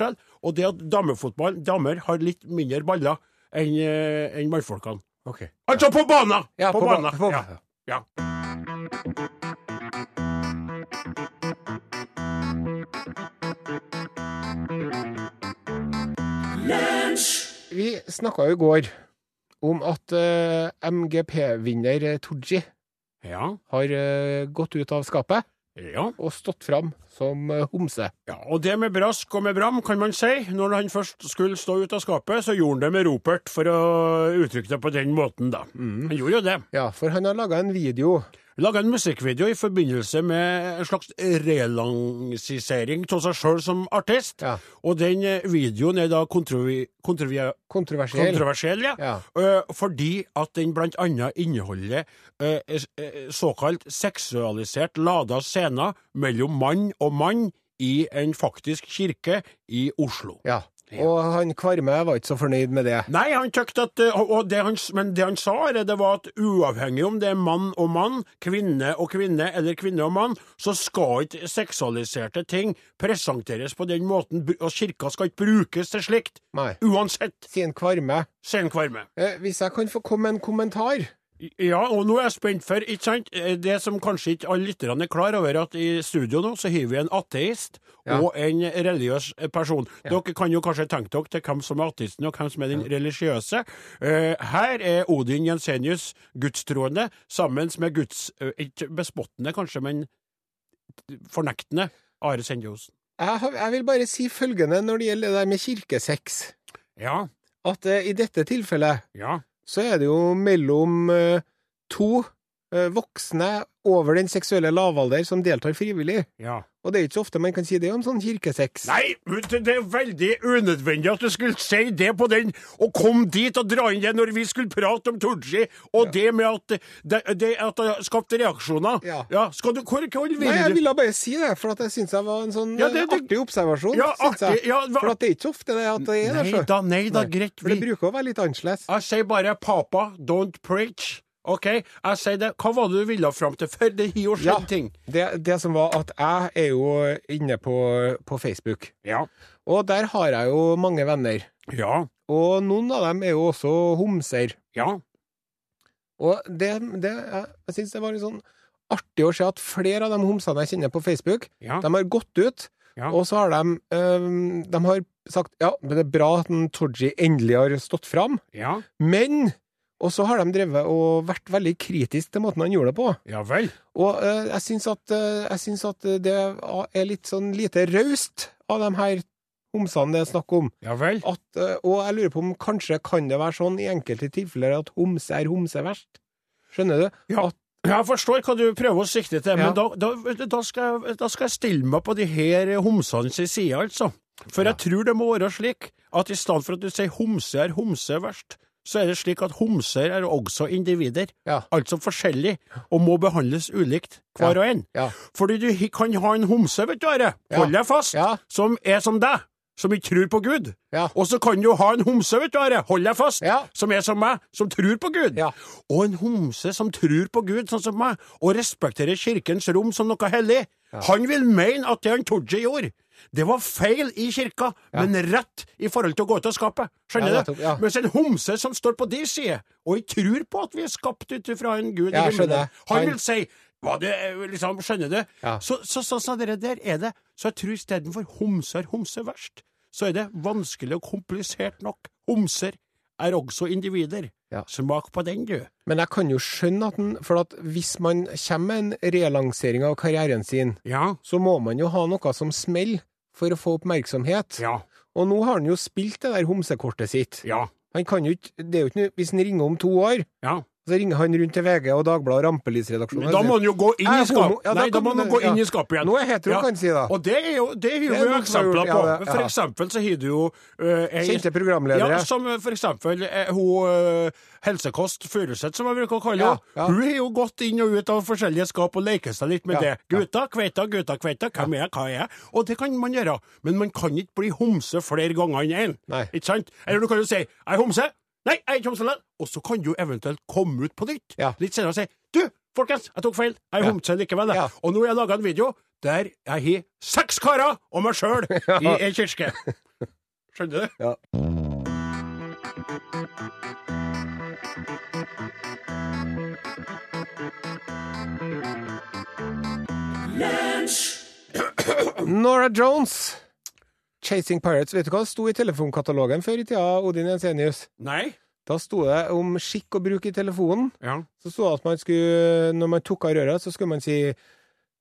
Speaker 3: og det er at damefotball, damer, har litt mindre baller enn eh, enn mannfolkene.
Speaker 2: Ok.
Speaker 3: Altså på banen!
Speaker 2: Ja,
Speaker 3: på,
Speaker 2: på ba-
Speaker 3: banen.
Speaker 2: på-
Speaker 3: ja. ja.
Speaker 2: Vi snakka jo i går om at eh, MGP-vinner eh, Tooji
Speaker 3: Ja.
Speaker 2: har eh, gått ut av skapet
Speaker 3: Ja.
Speaker 2: og stått fram som eh, homse.
Speaker 3: ja, og det med brask og med bram, kan man si. Når han først skulle stå ut av skapet, så gjorde han det med ropert, for å uttrykke det på den måten, da.
Speaker 2: Mm.
Speaker 3: Han gjorde jo det.
Speaker 2: Ja, for han har laga en video.
Speaker 3: Laga en musikkvideo i forbindelse med en slags relansisering av seg sjøl som artist,
Speaker 2: Ja.
Speaker 3: og den eh, videoen er da kontrovi... kontrovi
Speaker 2: Kontroversiell.
Speaker 3: kontroversiell, ja.
Speaker 2: Ja.
Speaker 3: Eh, fordi at den blant annet inneholder eh, s- eh, såkalt seksualisert lada scener mellom mann og mann i en faktisk kirke i Oslo.
Speaker 2: ja. Og han Kvarme var ikke så fornøyd med det.
Speaker 3: Nei, han tøkte at, eh, og og det han, s- men det han sa, er det var at uavhengig om det er mann og mann, kvinne og kvinne, eller kvinne og mann, så skal ikke seksualiserte ting presenteres på den måten, br- og kirka skal ikke brukes til slikt.
Speaker 2: Nei.
Speaker 3: Uansett,
Speaker 2: Sier han Kvarme.
Speaker 3: sier han Kvarme.
Speaker 2: Eh, hvis jeg kan få komme med en kommentar?
Speaker 3: Ja, og nå er jeg spent for, ikke sant, eh, det som kanskje ikke alle lytterne er klar over, at i studio nå så har vi en ateist
Speaker 2: Ja.
Speaker 3: og en religiøs eh, person. Dere kan jo kanskje tenke dere til hvem som er ateisten og hvem som er den religiøse. Eh, Her er Odin Jensenius gudstroende sammen med guds, eh, ikke bespottende kanskje, men fornektende Are Sendjosen.
Speaker 2: Jeg, har, jeg vil bare si følgende når det gjelder det der med kirkesex.
Speaker 3: Ja,
Speaker 2: At eh, i dette tilfellet
Speaker 3: ja,
Speaker 2: så er det jo mellom eh, to eh, voksne over den seksuelle lavalder som deltar frivillig.
Speaker 3: ja.
Speaker 2: Og det er ikke så ofte man kan si det om sånn kirkesex.
Speaker 3: Nei, vet du, det er veldig unødvendig at du skulle si det på den, og kom dit og dra inn det når vi skulle prate om Tooji, og det med at det, det at det skapte reaksjoner.
Speaker 2: Ja.
Speaker 3: skal du, hvor, hvor vil
Speaker 2: Nei, jeg
Speaker 3: du?
Speaker 2: ville bare si det, for at jeg syns jeg var en sånn
Speaker 3: Ja, det-
Speaker 2: eh,
Speaker 3: det-
Speaker 2: artig observasjon.
Speaker 3: Ja,
Speaker 2: synes jeg.
Speaker 3: artig, ja, hva-
Speaker 2: For at det er ikke så ofte det at det er der,
Speaker 3: Nei da, nei da, greit.
Speaker 2: For det
Speaker 3: Vi,
Speaker 2: bruker å være litt annerledes.
Speaker 3: jeg sier bare papa, don't preach. Ok, jeg sier det. Hva var det du ville fram til før? Det har jo skjedd
Speaker 2: Ja.
Speaker 3: ting.
Speaker 2: Det, det som var at jeg er jo inne på, på Facebook,
Speaker 3: Ja.
Speaker 2: og der har jeg jo mange venner.
Speaker 3: Ja.
Speaker 2: Og noen av dem er jo også homser.
Speaker 3: Ja.
Speaker 2: Og det, det jeg, jeg syns det var litt sånn artig å se at flere av de homsene jeg kjenner på Facebook,
Speaker 3: Ja.
Speaker 2: de har gått ut,
Speaker 3: Ja.
Speaker 2: og så har de, øhm, de har sagt ja, men det er bra at en Todji endelig har stått fram,
Speaker 3: Ja,
Speaker 2: men Og så har de drevet og vært veldig kritisk til måten han gjorde det på.
Speaker 3: ja vel.
Speaker 2: Og eh, jeg syns at, eh, jeg syns at eh, det er litt sånn lite raust av de her homsene det er snakk om.
Speaker 3: Ja vel.
Speaker 2: At, eh, og jeg lurer på om kanskje kan det være sånn i enkelte tilfeller at homse er homse verst. Skjønner du?
Speaker 3: Ja.
Speaker 2: At,
Speaker 3: Jeg forstår hva du prøver å sikte til, men
Speaker 2: Ja.
Speaker 3: da, da, vet du, da, skal, jeg- da skal jeg stille meg på de her eh, homsene sin side, altså. For jeg tror det må være slik at i stedet for at du sier homse er homse verst, så er det slik at homser er også individer,
Speaker 2: Ja.
Speaker 3: altså forskjellige, og må behandles ulikt hver
Speaker 2: Ja.
Speaker 3: og en.
Speaker 2: Ja.
Speaker 3: Fordi du hi- kan ha en homse, vet du, Are, hold
Speaker 2: Ja.
Speaker 3: deg fast,
Speaker 2: Ja.
Speaker 3: som er som deg, som ikke tror på Gud.
Speaker 2: Ja.
Speaker 3: Og så kan du ha en homse, vet du, Are, hold deg fast,
Speaker 2: Ja.
Speaker 3: som er som meg, som tror på Gud.
Speaker 2: Ja.
Speaker 3: Og en homse som tror på Gud, sånn som meg, og respekterer kirkens rom som noe hellig, han vil mene at det han Tooji gjorde, det var feil i kirka, men rett i forhold til å gå ut av skapet. Skjønner
Speaker 2: Ja,
Speaker 3: du?
Speaker 2: nettopp, ja.
Speaker 3: Mens en homse som står på din side, og ikke tror på at vi er skapt ut ifra en gud i
Speaker 2: Ja,
Speaker 3: himmelen,
Speaker 2: skjønner.
Speaker 3: han
Speaker 2: Han-
Speaker 3: vil si hva det er, liksom, skjønner du?
Speaker 2: Ja.
Speaker 3: Så, så, så, så det der er det. Så jeg tror istedenfor homse er homse verst, så er det vanskelig og komplisert nok. Homser er også individer.
Speaker 2: Ja.
Speaker 3: Smak på den, du.
Speaker 2: men jeg kan jo skjønne at den, for at hvis man kommer med en relansering av karrieren sin,
Speaker 3: Ja.
Speaker 2: så må man jo ha noe som smeller for å få oppmerksomhet.
Speaker 3: Ja.
Speaker 2: Og nå har han jo spilt det der homsekortet sitt.
Speaker 3: Ja.
Speaker 2: Han kan jo ikke, det er jo ikke noe, hvis han ringer om to år,
Speaker 3: ja.
Speaker 2: Så ringer han rundt til VG og Dagbladet og Rampelysredaksjonen.
Speaker 3: Men da må han jo gå
Speaker 2: Jeg
Speaker 3: inn i
Speaker 2: er homo.
Speaker 3: skapet.
Speaker 2: Ja, da
Speaker 3: Nei, da
Speaker 2: kan
Speaker 3: må
Speaker 2: man-
Speaker 3: han jo gå inn
Speaker 2: ja.
Speaker 3: i skapet igjen.
Speaker 2: Nå er jeg hetero, kan jeg si da.
Speaker 3: Og det er jo det er jo
Speaker 2: Det er
Speaker 3: jo
Speaker 2: nok gjort,
Speaker 3: eksempler på.
Speaker 2: ja, det-
Speaker 3: For
Speaker 2: ja.
Speaker 3: eksempel så har du jo eh, ei-
Speaker 2: Kjente programledere.
Speaker 3: Ja, som eh, for eksempel eh, hun eh, Helsekost Furuseth, som jeg bruker å kalle
Speaker 2: Ja,
Speaker 3: henne.
Speaker 2: ja.
Speaker 3: Hun har jo gått inn og ut av forskjellige skap og leker seg litt
Speaker 2: Ja,
Speaker 3: med det. Gutta, kveita, gutta, kveita. Hvem er jeg, hva er jeg? Og det kan man gjøre. Men man kan ikke bli homse flere ganger enn én.
Speaker 2: Nei.
Speaker 3: Ikke sant? Eller du kan jo si 'jeg er homse'. Nei, jeg er ikke homse. likevel. Og så kan du eventuelt komme ut på nytt
Speaker 2: Ja.
Speaker 3: litt senere og si 'du, folkens, jeg tok feil, jeg er
Speaker 2: Ja.
Speaker 3: homse likevel'. jeg».
Speaker 2: Ja.
Speaker 3: Og nå har jeg laga en video der jeg har seks karer og meg sjøl i ei kirke. Skjønner du?
Speaker 2: Nora Jones! Chasing Pirates. Vet du hva det sto i telefonkatalogen før i tida, Odin Jensenius?
Speaker 3: Nei.
Speaker 2: Da sto det om skikk og bruk i telefonen.
Speaker 3: Ja.
Speaker 2: Så sto det at man skulle, når man tok av røret, så skulle man si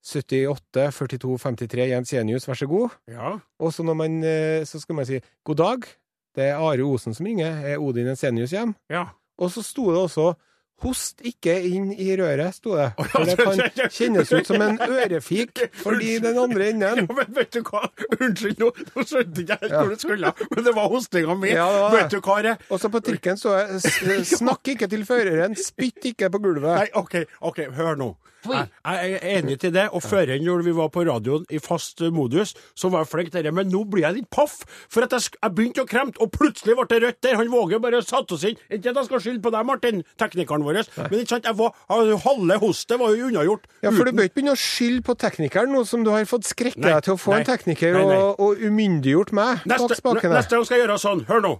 Speaker 2: 78 42 53 Jensenius, vær så god.
Speaker 3: Ja.
Speaker 2: Og så, når man, eh, så skulle man si god dag, det er Are Osen som ringer, er Odin Jensenius hjem?
Speaker 3: Ja.
Speaker 2: Og så sto det også Host ikke inn i røret, sto det. For det kan kjennes ut som en ørefik fordi den andre enden
Speaker 3: Ja, men vet du hva? Unnskyld, nå, nå skjønte ikke jeg helt hvor du skulle, men det var hostinga mi.
Speaker 2: Ja, det var det.
Speaker 3: vet du hva, det?
Speaker 2: Og så på trikken står det s- 'Snakk ikke til føreren, spytt ikke på
Speaker 3: Nei,
Speaker 2: gulvet'.
Speaker 3: OK, ok, hør nå. Jeg, jeg er enig til det, og før enn når vi var på radioen i fast eh, modus, så var jeg flink til det, men nå blir jeg litt paff, for at jeg, sk- jeg begynte å kremte, og plutselig ble det rødt der. Han Våge bare satte oss inn. Ikke at jeg skal skylde på deg, Martin, teknikeren vår, men ikke sant, jeg var, jeg- halve hostet var jo unnagjort.
Speaker 2: Ja, for du
Speaker 3: uten-
Speaker 2: bør ikke begynne å skylde på teknikeren, nå som du har fått skrekke
Speaker 3: Nei,
Speaker 2: deg til å få
Speaker 3: nei,
Speaker 2: en tekniker
Speaker 3: nei, nei.
Speaker 2: Og, og umyndiggjort meg bak
Speaker 3: Neste,
Speaker 2: spakene.
Speaker 3: neste gang skal jeg gjøre sånn. Hør nå.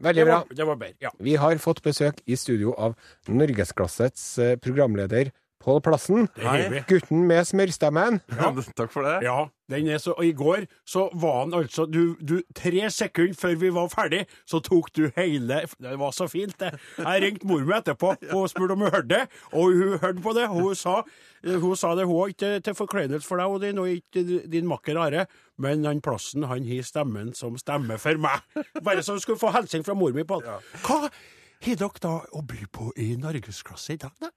Speaker 2: Veldig
Speaker 3: Det
Speaker 2: bra.
Speaker 3: var, det var bedre. Ja.
Speaker 2: Vi har fått besøk i studio av norgesklassets eh, programleder Pål Plassen.
Speaker 3: er hyggelig.
Speaker 2: Gutten med smørstemmen.
Speaker 5: Takk for det.
Speaker 3: Ja, den er så, og I går så var han altså du, du, Tre sekunder før vi var ferdig, så tok du hele Det var så fint, det. Jeg ringte mor mi etterpå og spurte om hun hørte det, og hun hørte på det. Hun sa, hun sa det, hun òg, til, til forkleinelse for deg, Odin, og ikke til din makker Are. Men han Plassen, han har stemmen som stemmer for meg. Bare så du skulle få hilsen fra mor mi på det. Hva har dere da å by på i norgesklasse i dag, da?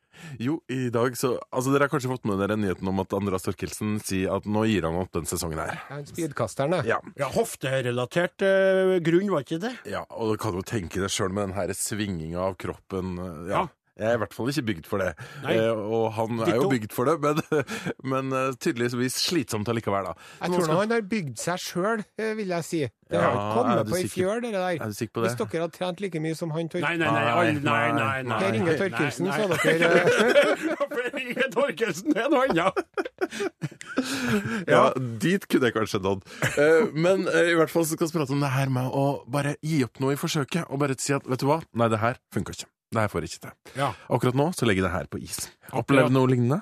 Speaker 5: Jo, i dag så Altså, dere har kanskje fått med dere nyheten om at Andreas Thorkildsen sier at nå gir han opp den sesongen her.
Speaker 2: Han spydkasteren, jeg.
Speaker 5: Ja.
Speaker 3: Ja, Hofterelatert eh, grunn, var ikke det?
Speaker 5: ja og du kan jo tenke deg sjøl med den her svinginga av kroppen. Ja.
Speaker 3: Ja.
Speaker 5: Jeg er i hvert fall ikke bygd for det.
Speaker 3: Nei.
Speaker 5: Eh, og han er jo
Speaker 3: Ditto.
Speaker 5: bygd for det, men, men eh, tydeligvis slitsomt allikevel, da.
Speaker 2: Jeg
Speaker 5: Nå
Speaker 2: tror
Speaker 5: skal-
Speaker 2: nå han har bygd seg sjøl, vil jeg si. Det har
Speaker 5: Ja,
Speaker 2: ikke
Speaker 5: er
Speaker 2: kommet
Speaker 5: du
Speaker 2: på i
Speaker 5: sikker-
Speaker 2: fjør, det der.
Speaker 5: er du sikker på det?
Speaker 2: Hvis dere hadde trent like mye som han tør
Speaker 3: Nei, nei, nei. Nei, nei, nei, nei.
Speaker 2: Per Inge
Speaker 3: nei,
Speaker 2: Torkelsen,
Speaker 3: nei.
Speaker 2: så dere
Speaker 3: Per Inge Torkelsen er noe annet.
Speaker 5: Ja, dit kunne jeg kanskje nådd. Eh, men eh, i hvert fall så skal vi prate om det her med å bare gi opp noe i forsøket, og bare si at vet du hva, nei, det her funker ikke. Det her får jeg ikke til.
Speaker 3: Ja.
Speaker 5: Akkurat nå så legger jeg det her på is. Opplevd noe lignende?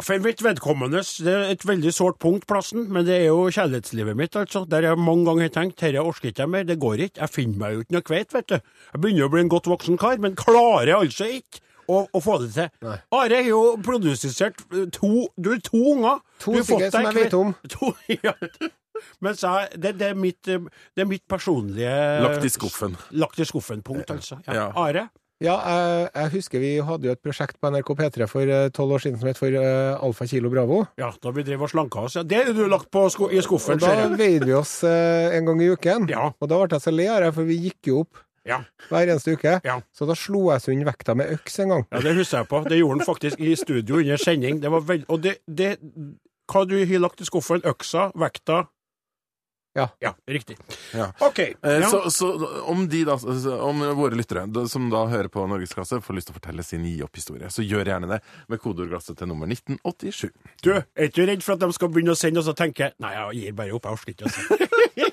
Speaker 3: For mitt vedkommende, det er et veldig sårt punkt, plassen, men det er jo kjærlighetslivet mitt, altså. Der jeg mange ganger har tenkt dette orker ikke jeg mer, det går ikke. Jeg finner meg jo ikke noe kveit, vet du. Jeg begynner å bli en godt voksen kar, men klarer altså ikke å, å få det til. Are har jo produsert eh, to Du har to unger.
Speaker 2: To
Speaker 3: Du har fått
Speaker 2: stykker som
Speaker 3: deg
Speaker 2: jeg vet
Speaker 3: kve-
Speaker 2: om.
Speaker 3: To, ja. Mens jeg, det, det, er mitt, eh, det er mitt personlige
Speaker 5: Lagt i skuffen.
Speaker 3: Lagt i skuffen-punkt, altså. Ja.
Speaker 5: Ja.
Speaker 3: Are?
Speaker 2: Ja, jeg, jeg husker vi hadde jo et prosjekt på NRK P3 for tolv år siden som het for eh, Alfa Kilo Bravo.
Speaker 3: Ja, da vi drev og slanka oss. Ja, det har du lagt på sko i skuffen,
Speaker 2: Og da
Speaker 3: ser jeg.
Speaker 2: veide vi oss eh, en gang i uken.
Speaker 3: Ja.
Speaker 2: Og da ble jeg så lei av det, for vi gikk jo opp
Speaker 3: Ja.
Speaker 2: hver eneste uke.
Speaker 3: Ja.
Speaker 2: Så da slo jeg sund vekta med øks en gang.
Speaker 3: Ja, det husker jeg på. Det gjorde han faktisk i studio under sending. Det var veld... Og det, det Hva du har lagt i skuffen? Øksa? Vekta?
Speaker 2: Ja.
Speaker 3: Ja, riktig.
Speaker 5: Ja.
Speaker 3: OK.
Speaker 5: Eh,
Speaker 3: Ja.
Speaker 5: Så, så om, de da, så- om våre lyttere da- som da hører på Norgesklasse, får lyst til å fortelle sin gi opp-historie, så gjør gjerne det med kodeordglasset til nummer 1987.
Speaker 3: Du, er ikke du redd for at de skal begynne å sende, og så tenker jeg, Nei, jeg gir bare opp, jeg orker ikke å se.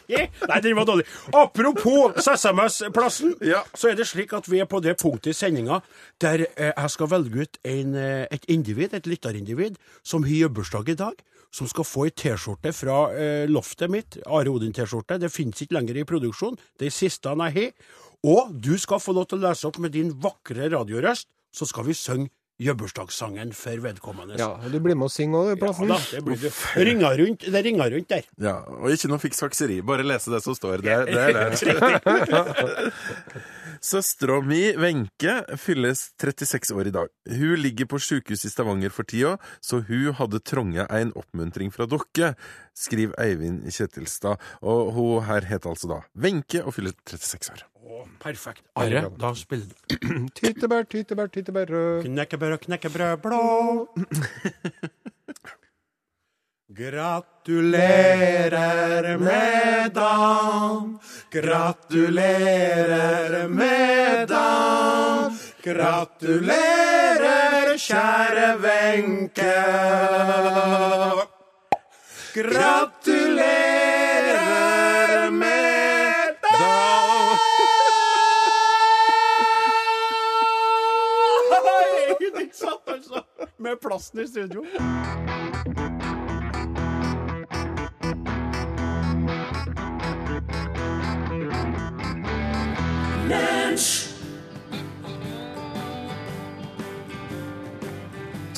Speaker 3: Nei, den var dårlig. Apropos SMS-plassen,
Speaker 5: Ja.
Speaker 3: så er det slik at vi er på det punktet i sendinga der eh, jeg skal velge ut en, eh, et individ, et lytterindivid, som har jubileumsdag i dag. Som skal få ei T-skjorte fra eh, loftet mitt. Are Odin-T-skjorte. Det fins ikke lenger i produksjon. Det er siste han jeg har. Og du skal få lov til å lese opp med din vakre radiorøst, så skal vi synge jubileumsdagssangen for vedkommende.
Speaker 2: Ja, og du blir med og synger òg,
Speaker 3: Ja
Speaker 2: plassen.
Speaker 3: da, det blir det. Ringer rundt, det ringer rundt der.
Speaker 5: Ja, og ikke noe fiksfakseri. Bare lese det som står. Det, er- det er det. Søstera mi, Wenche, fylles 36 år i dag. Hun ligger på sjukehus i Stavanger for tida, så hun hadde tronge en oppmuntring fra dere, skriver Eivind Kjetilstad. Og hun her heter altså da Wenche og fyller 36 år.
Speaker 3: Å, perfekt. Are, da spiller du.
Speaker 2: Tyttebær, tyttebær, tyttebær rød.
Speaker 3: Knekkebrød, knekkebrød blå. Gratulerer med dagen. Gratulerer med dagen. Gratulerer, kjære Wenche. Gratulerer med dagen! Ikke sant, altså? Med plassen i studio.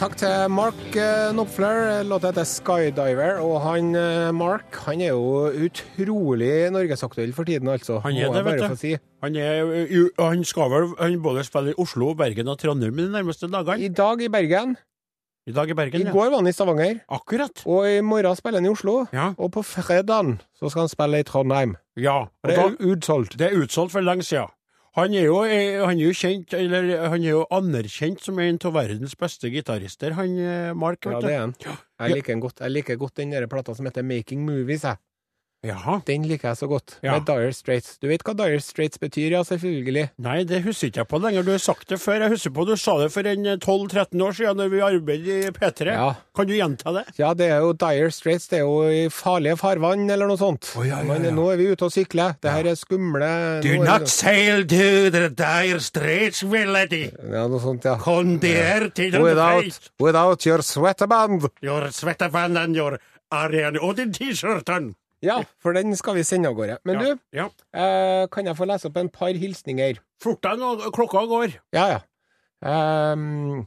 Speaker 2: Takk til Mark eh, Knopfler. Låta heter 'Skydiver'. Og han eh, Mark han er jo utrolig norgesaktuell for tiden, altså.
Speaker 3: Han er
Speaker 2: Må
Speaker 3: det,
Speaker 2: jeg
Speaker 3: vet
Speaker 2: bare
Speaker 3: du.
Speaker 2: få si.
Speaker 3: Han, er, jo- han skal vel han både spille i Oslo, Bergen og Trondheim de nærmeste dagene.
Speaker 2: I dag i Bergen.
Speaker 3: I dag i Bergen,
Speaker 2: I
Speaker 3: ja.
Speaker 2: går var han i Stavanger.
Speaker 3: Akkurat.
Speaker 2: Og i morgen spiller han i Oslo.
Speaker 3: Ja.
Speaker 2: Og på fredagen så skal han spille i Trondheim.
Speaker 3: ja. Og
Speaker 2: Det
Speaker 3: da,
Speaker 2: er utsolgt.
Speaker 3: det er utsolgt for lenge siden. Han er, jo, eh, han er jo kjent, eller han er jo anerkjent som en av verdens beste gitarister, han eh, Mark.
Speaker 2: Ja,
Speaker 3: vet du.
Speaker 2: det er han. Jeg liker, den godt. jeg liker godt den der plata som heter 'Making Movies'. Jeg.
Speaker 3: Jaha.
Speaker 2: Den liker jeg så godt.
Speaker 3: Ja.
Speaker 2: Med Dire Straits. Du vet hva Dire Straits betyr, ja, selvfølgelig.
Speaker 3: Nei, det husker ikke jeg på lenger. Du har sagt det før. Jeg husker på du sa det for en eh, 12-13 år siden, når vi arbeidet i P3.
Speaker 2: Ja.
Speaker 3: Kan du gjenta det?
Speaker 2: Ja, det er jo Dire Straits, det er jo i farlige farvann eller noe sånt.
Speaker 3: Å, ja, ja,
Speaker 2: Men
Speaker 3: ja.
Speaker 2: nå er vi ute og sykler. Det her er skumle
Speaker 3: Do
Speaker 2: nå er
Speaker 3: not
Speaker 2: det-
Speaker 3: sail to the dire straits, my lady.
Speaker 2: Ja, noe sånt, ja.
Speaker 3: Condere til the place.
Speaker 2: Without, without your sweaterband!
Speaker 3: Your sweaterband and your Arian Odin T-shirten.
Speaker 2: Ja, for den skal vi sende av gårde. Men du,
Speaker 3: Ja.
Speaker 2: eh, kan jeg få lese opp en par hilsninger?
Speaker 3: Fort deg nå, klokka går.
Speaker 2: Ja, ja. Ehm,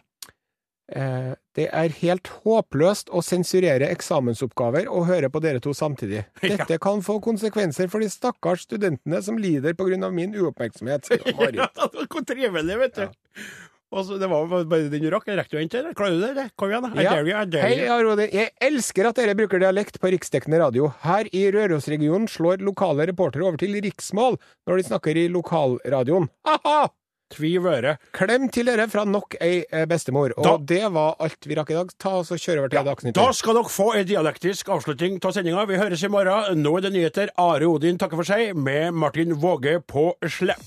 Speaker 2: eh, det er helt håpløst å sensurere eksamensoppgaver og høre på dere to samtidig. Dette kan få konsekvenser for de stakkars studentene som lider på grunn av min uoppmerksomhet. Ja, Marit.
Speaker 3: Ja, det var trivelig, vet du. Og så, det var jo bare den du rakk. Jeg Rekte du den til? eller? Klarer du det? eller? Kom igjen, da. I dare you, I dare
Speaker 2: Hei,
Speaker 3: you.
Speaker 2: Arodin. Jeg elsker at dere bruker dialekt på riksdekkende radio. Her i Rørosregionen slår lokale reportere over til riksmål når de snakker i lokalradioen. Aha!
Speaker 3: Tviv øre.
Speaker 2: Klem til dere fra nok ei eh, bestemor. Og
Speaker 3: Da-
Speaker 2: det var alt vi rakk i dag. Ta oss og kjør over til Dagsnytt.
Speaker 3: Da skal dere få en dialektisk avslutning av sendinga. Vi høres i morgen. Nå er det nyheter. Are Odin takker for seg, med Martin Våge på slepp.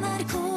Speaker 1: NRK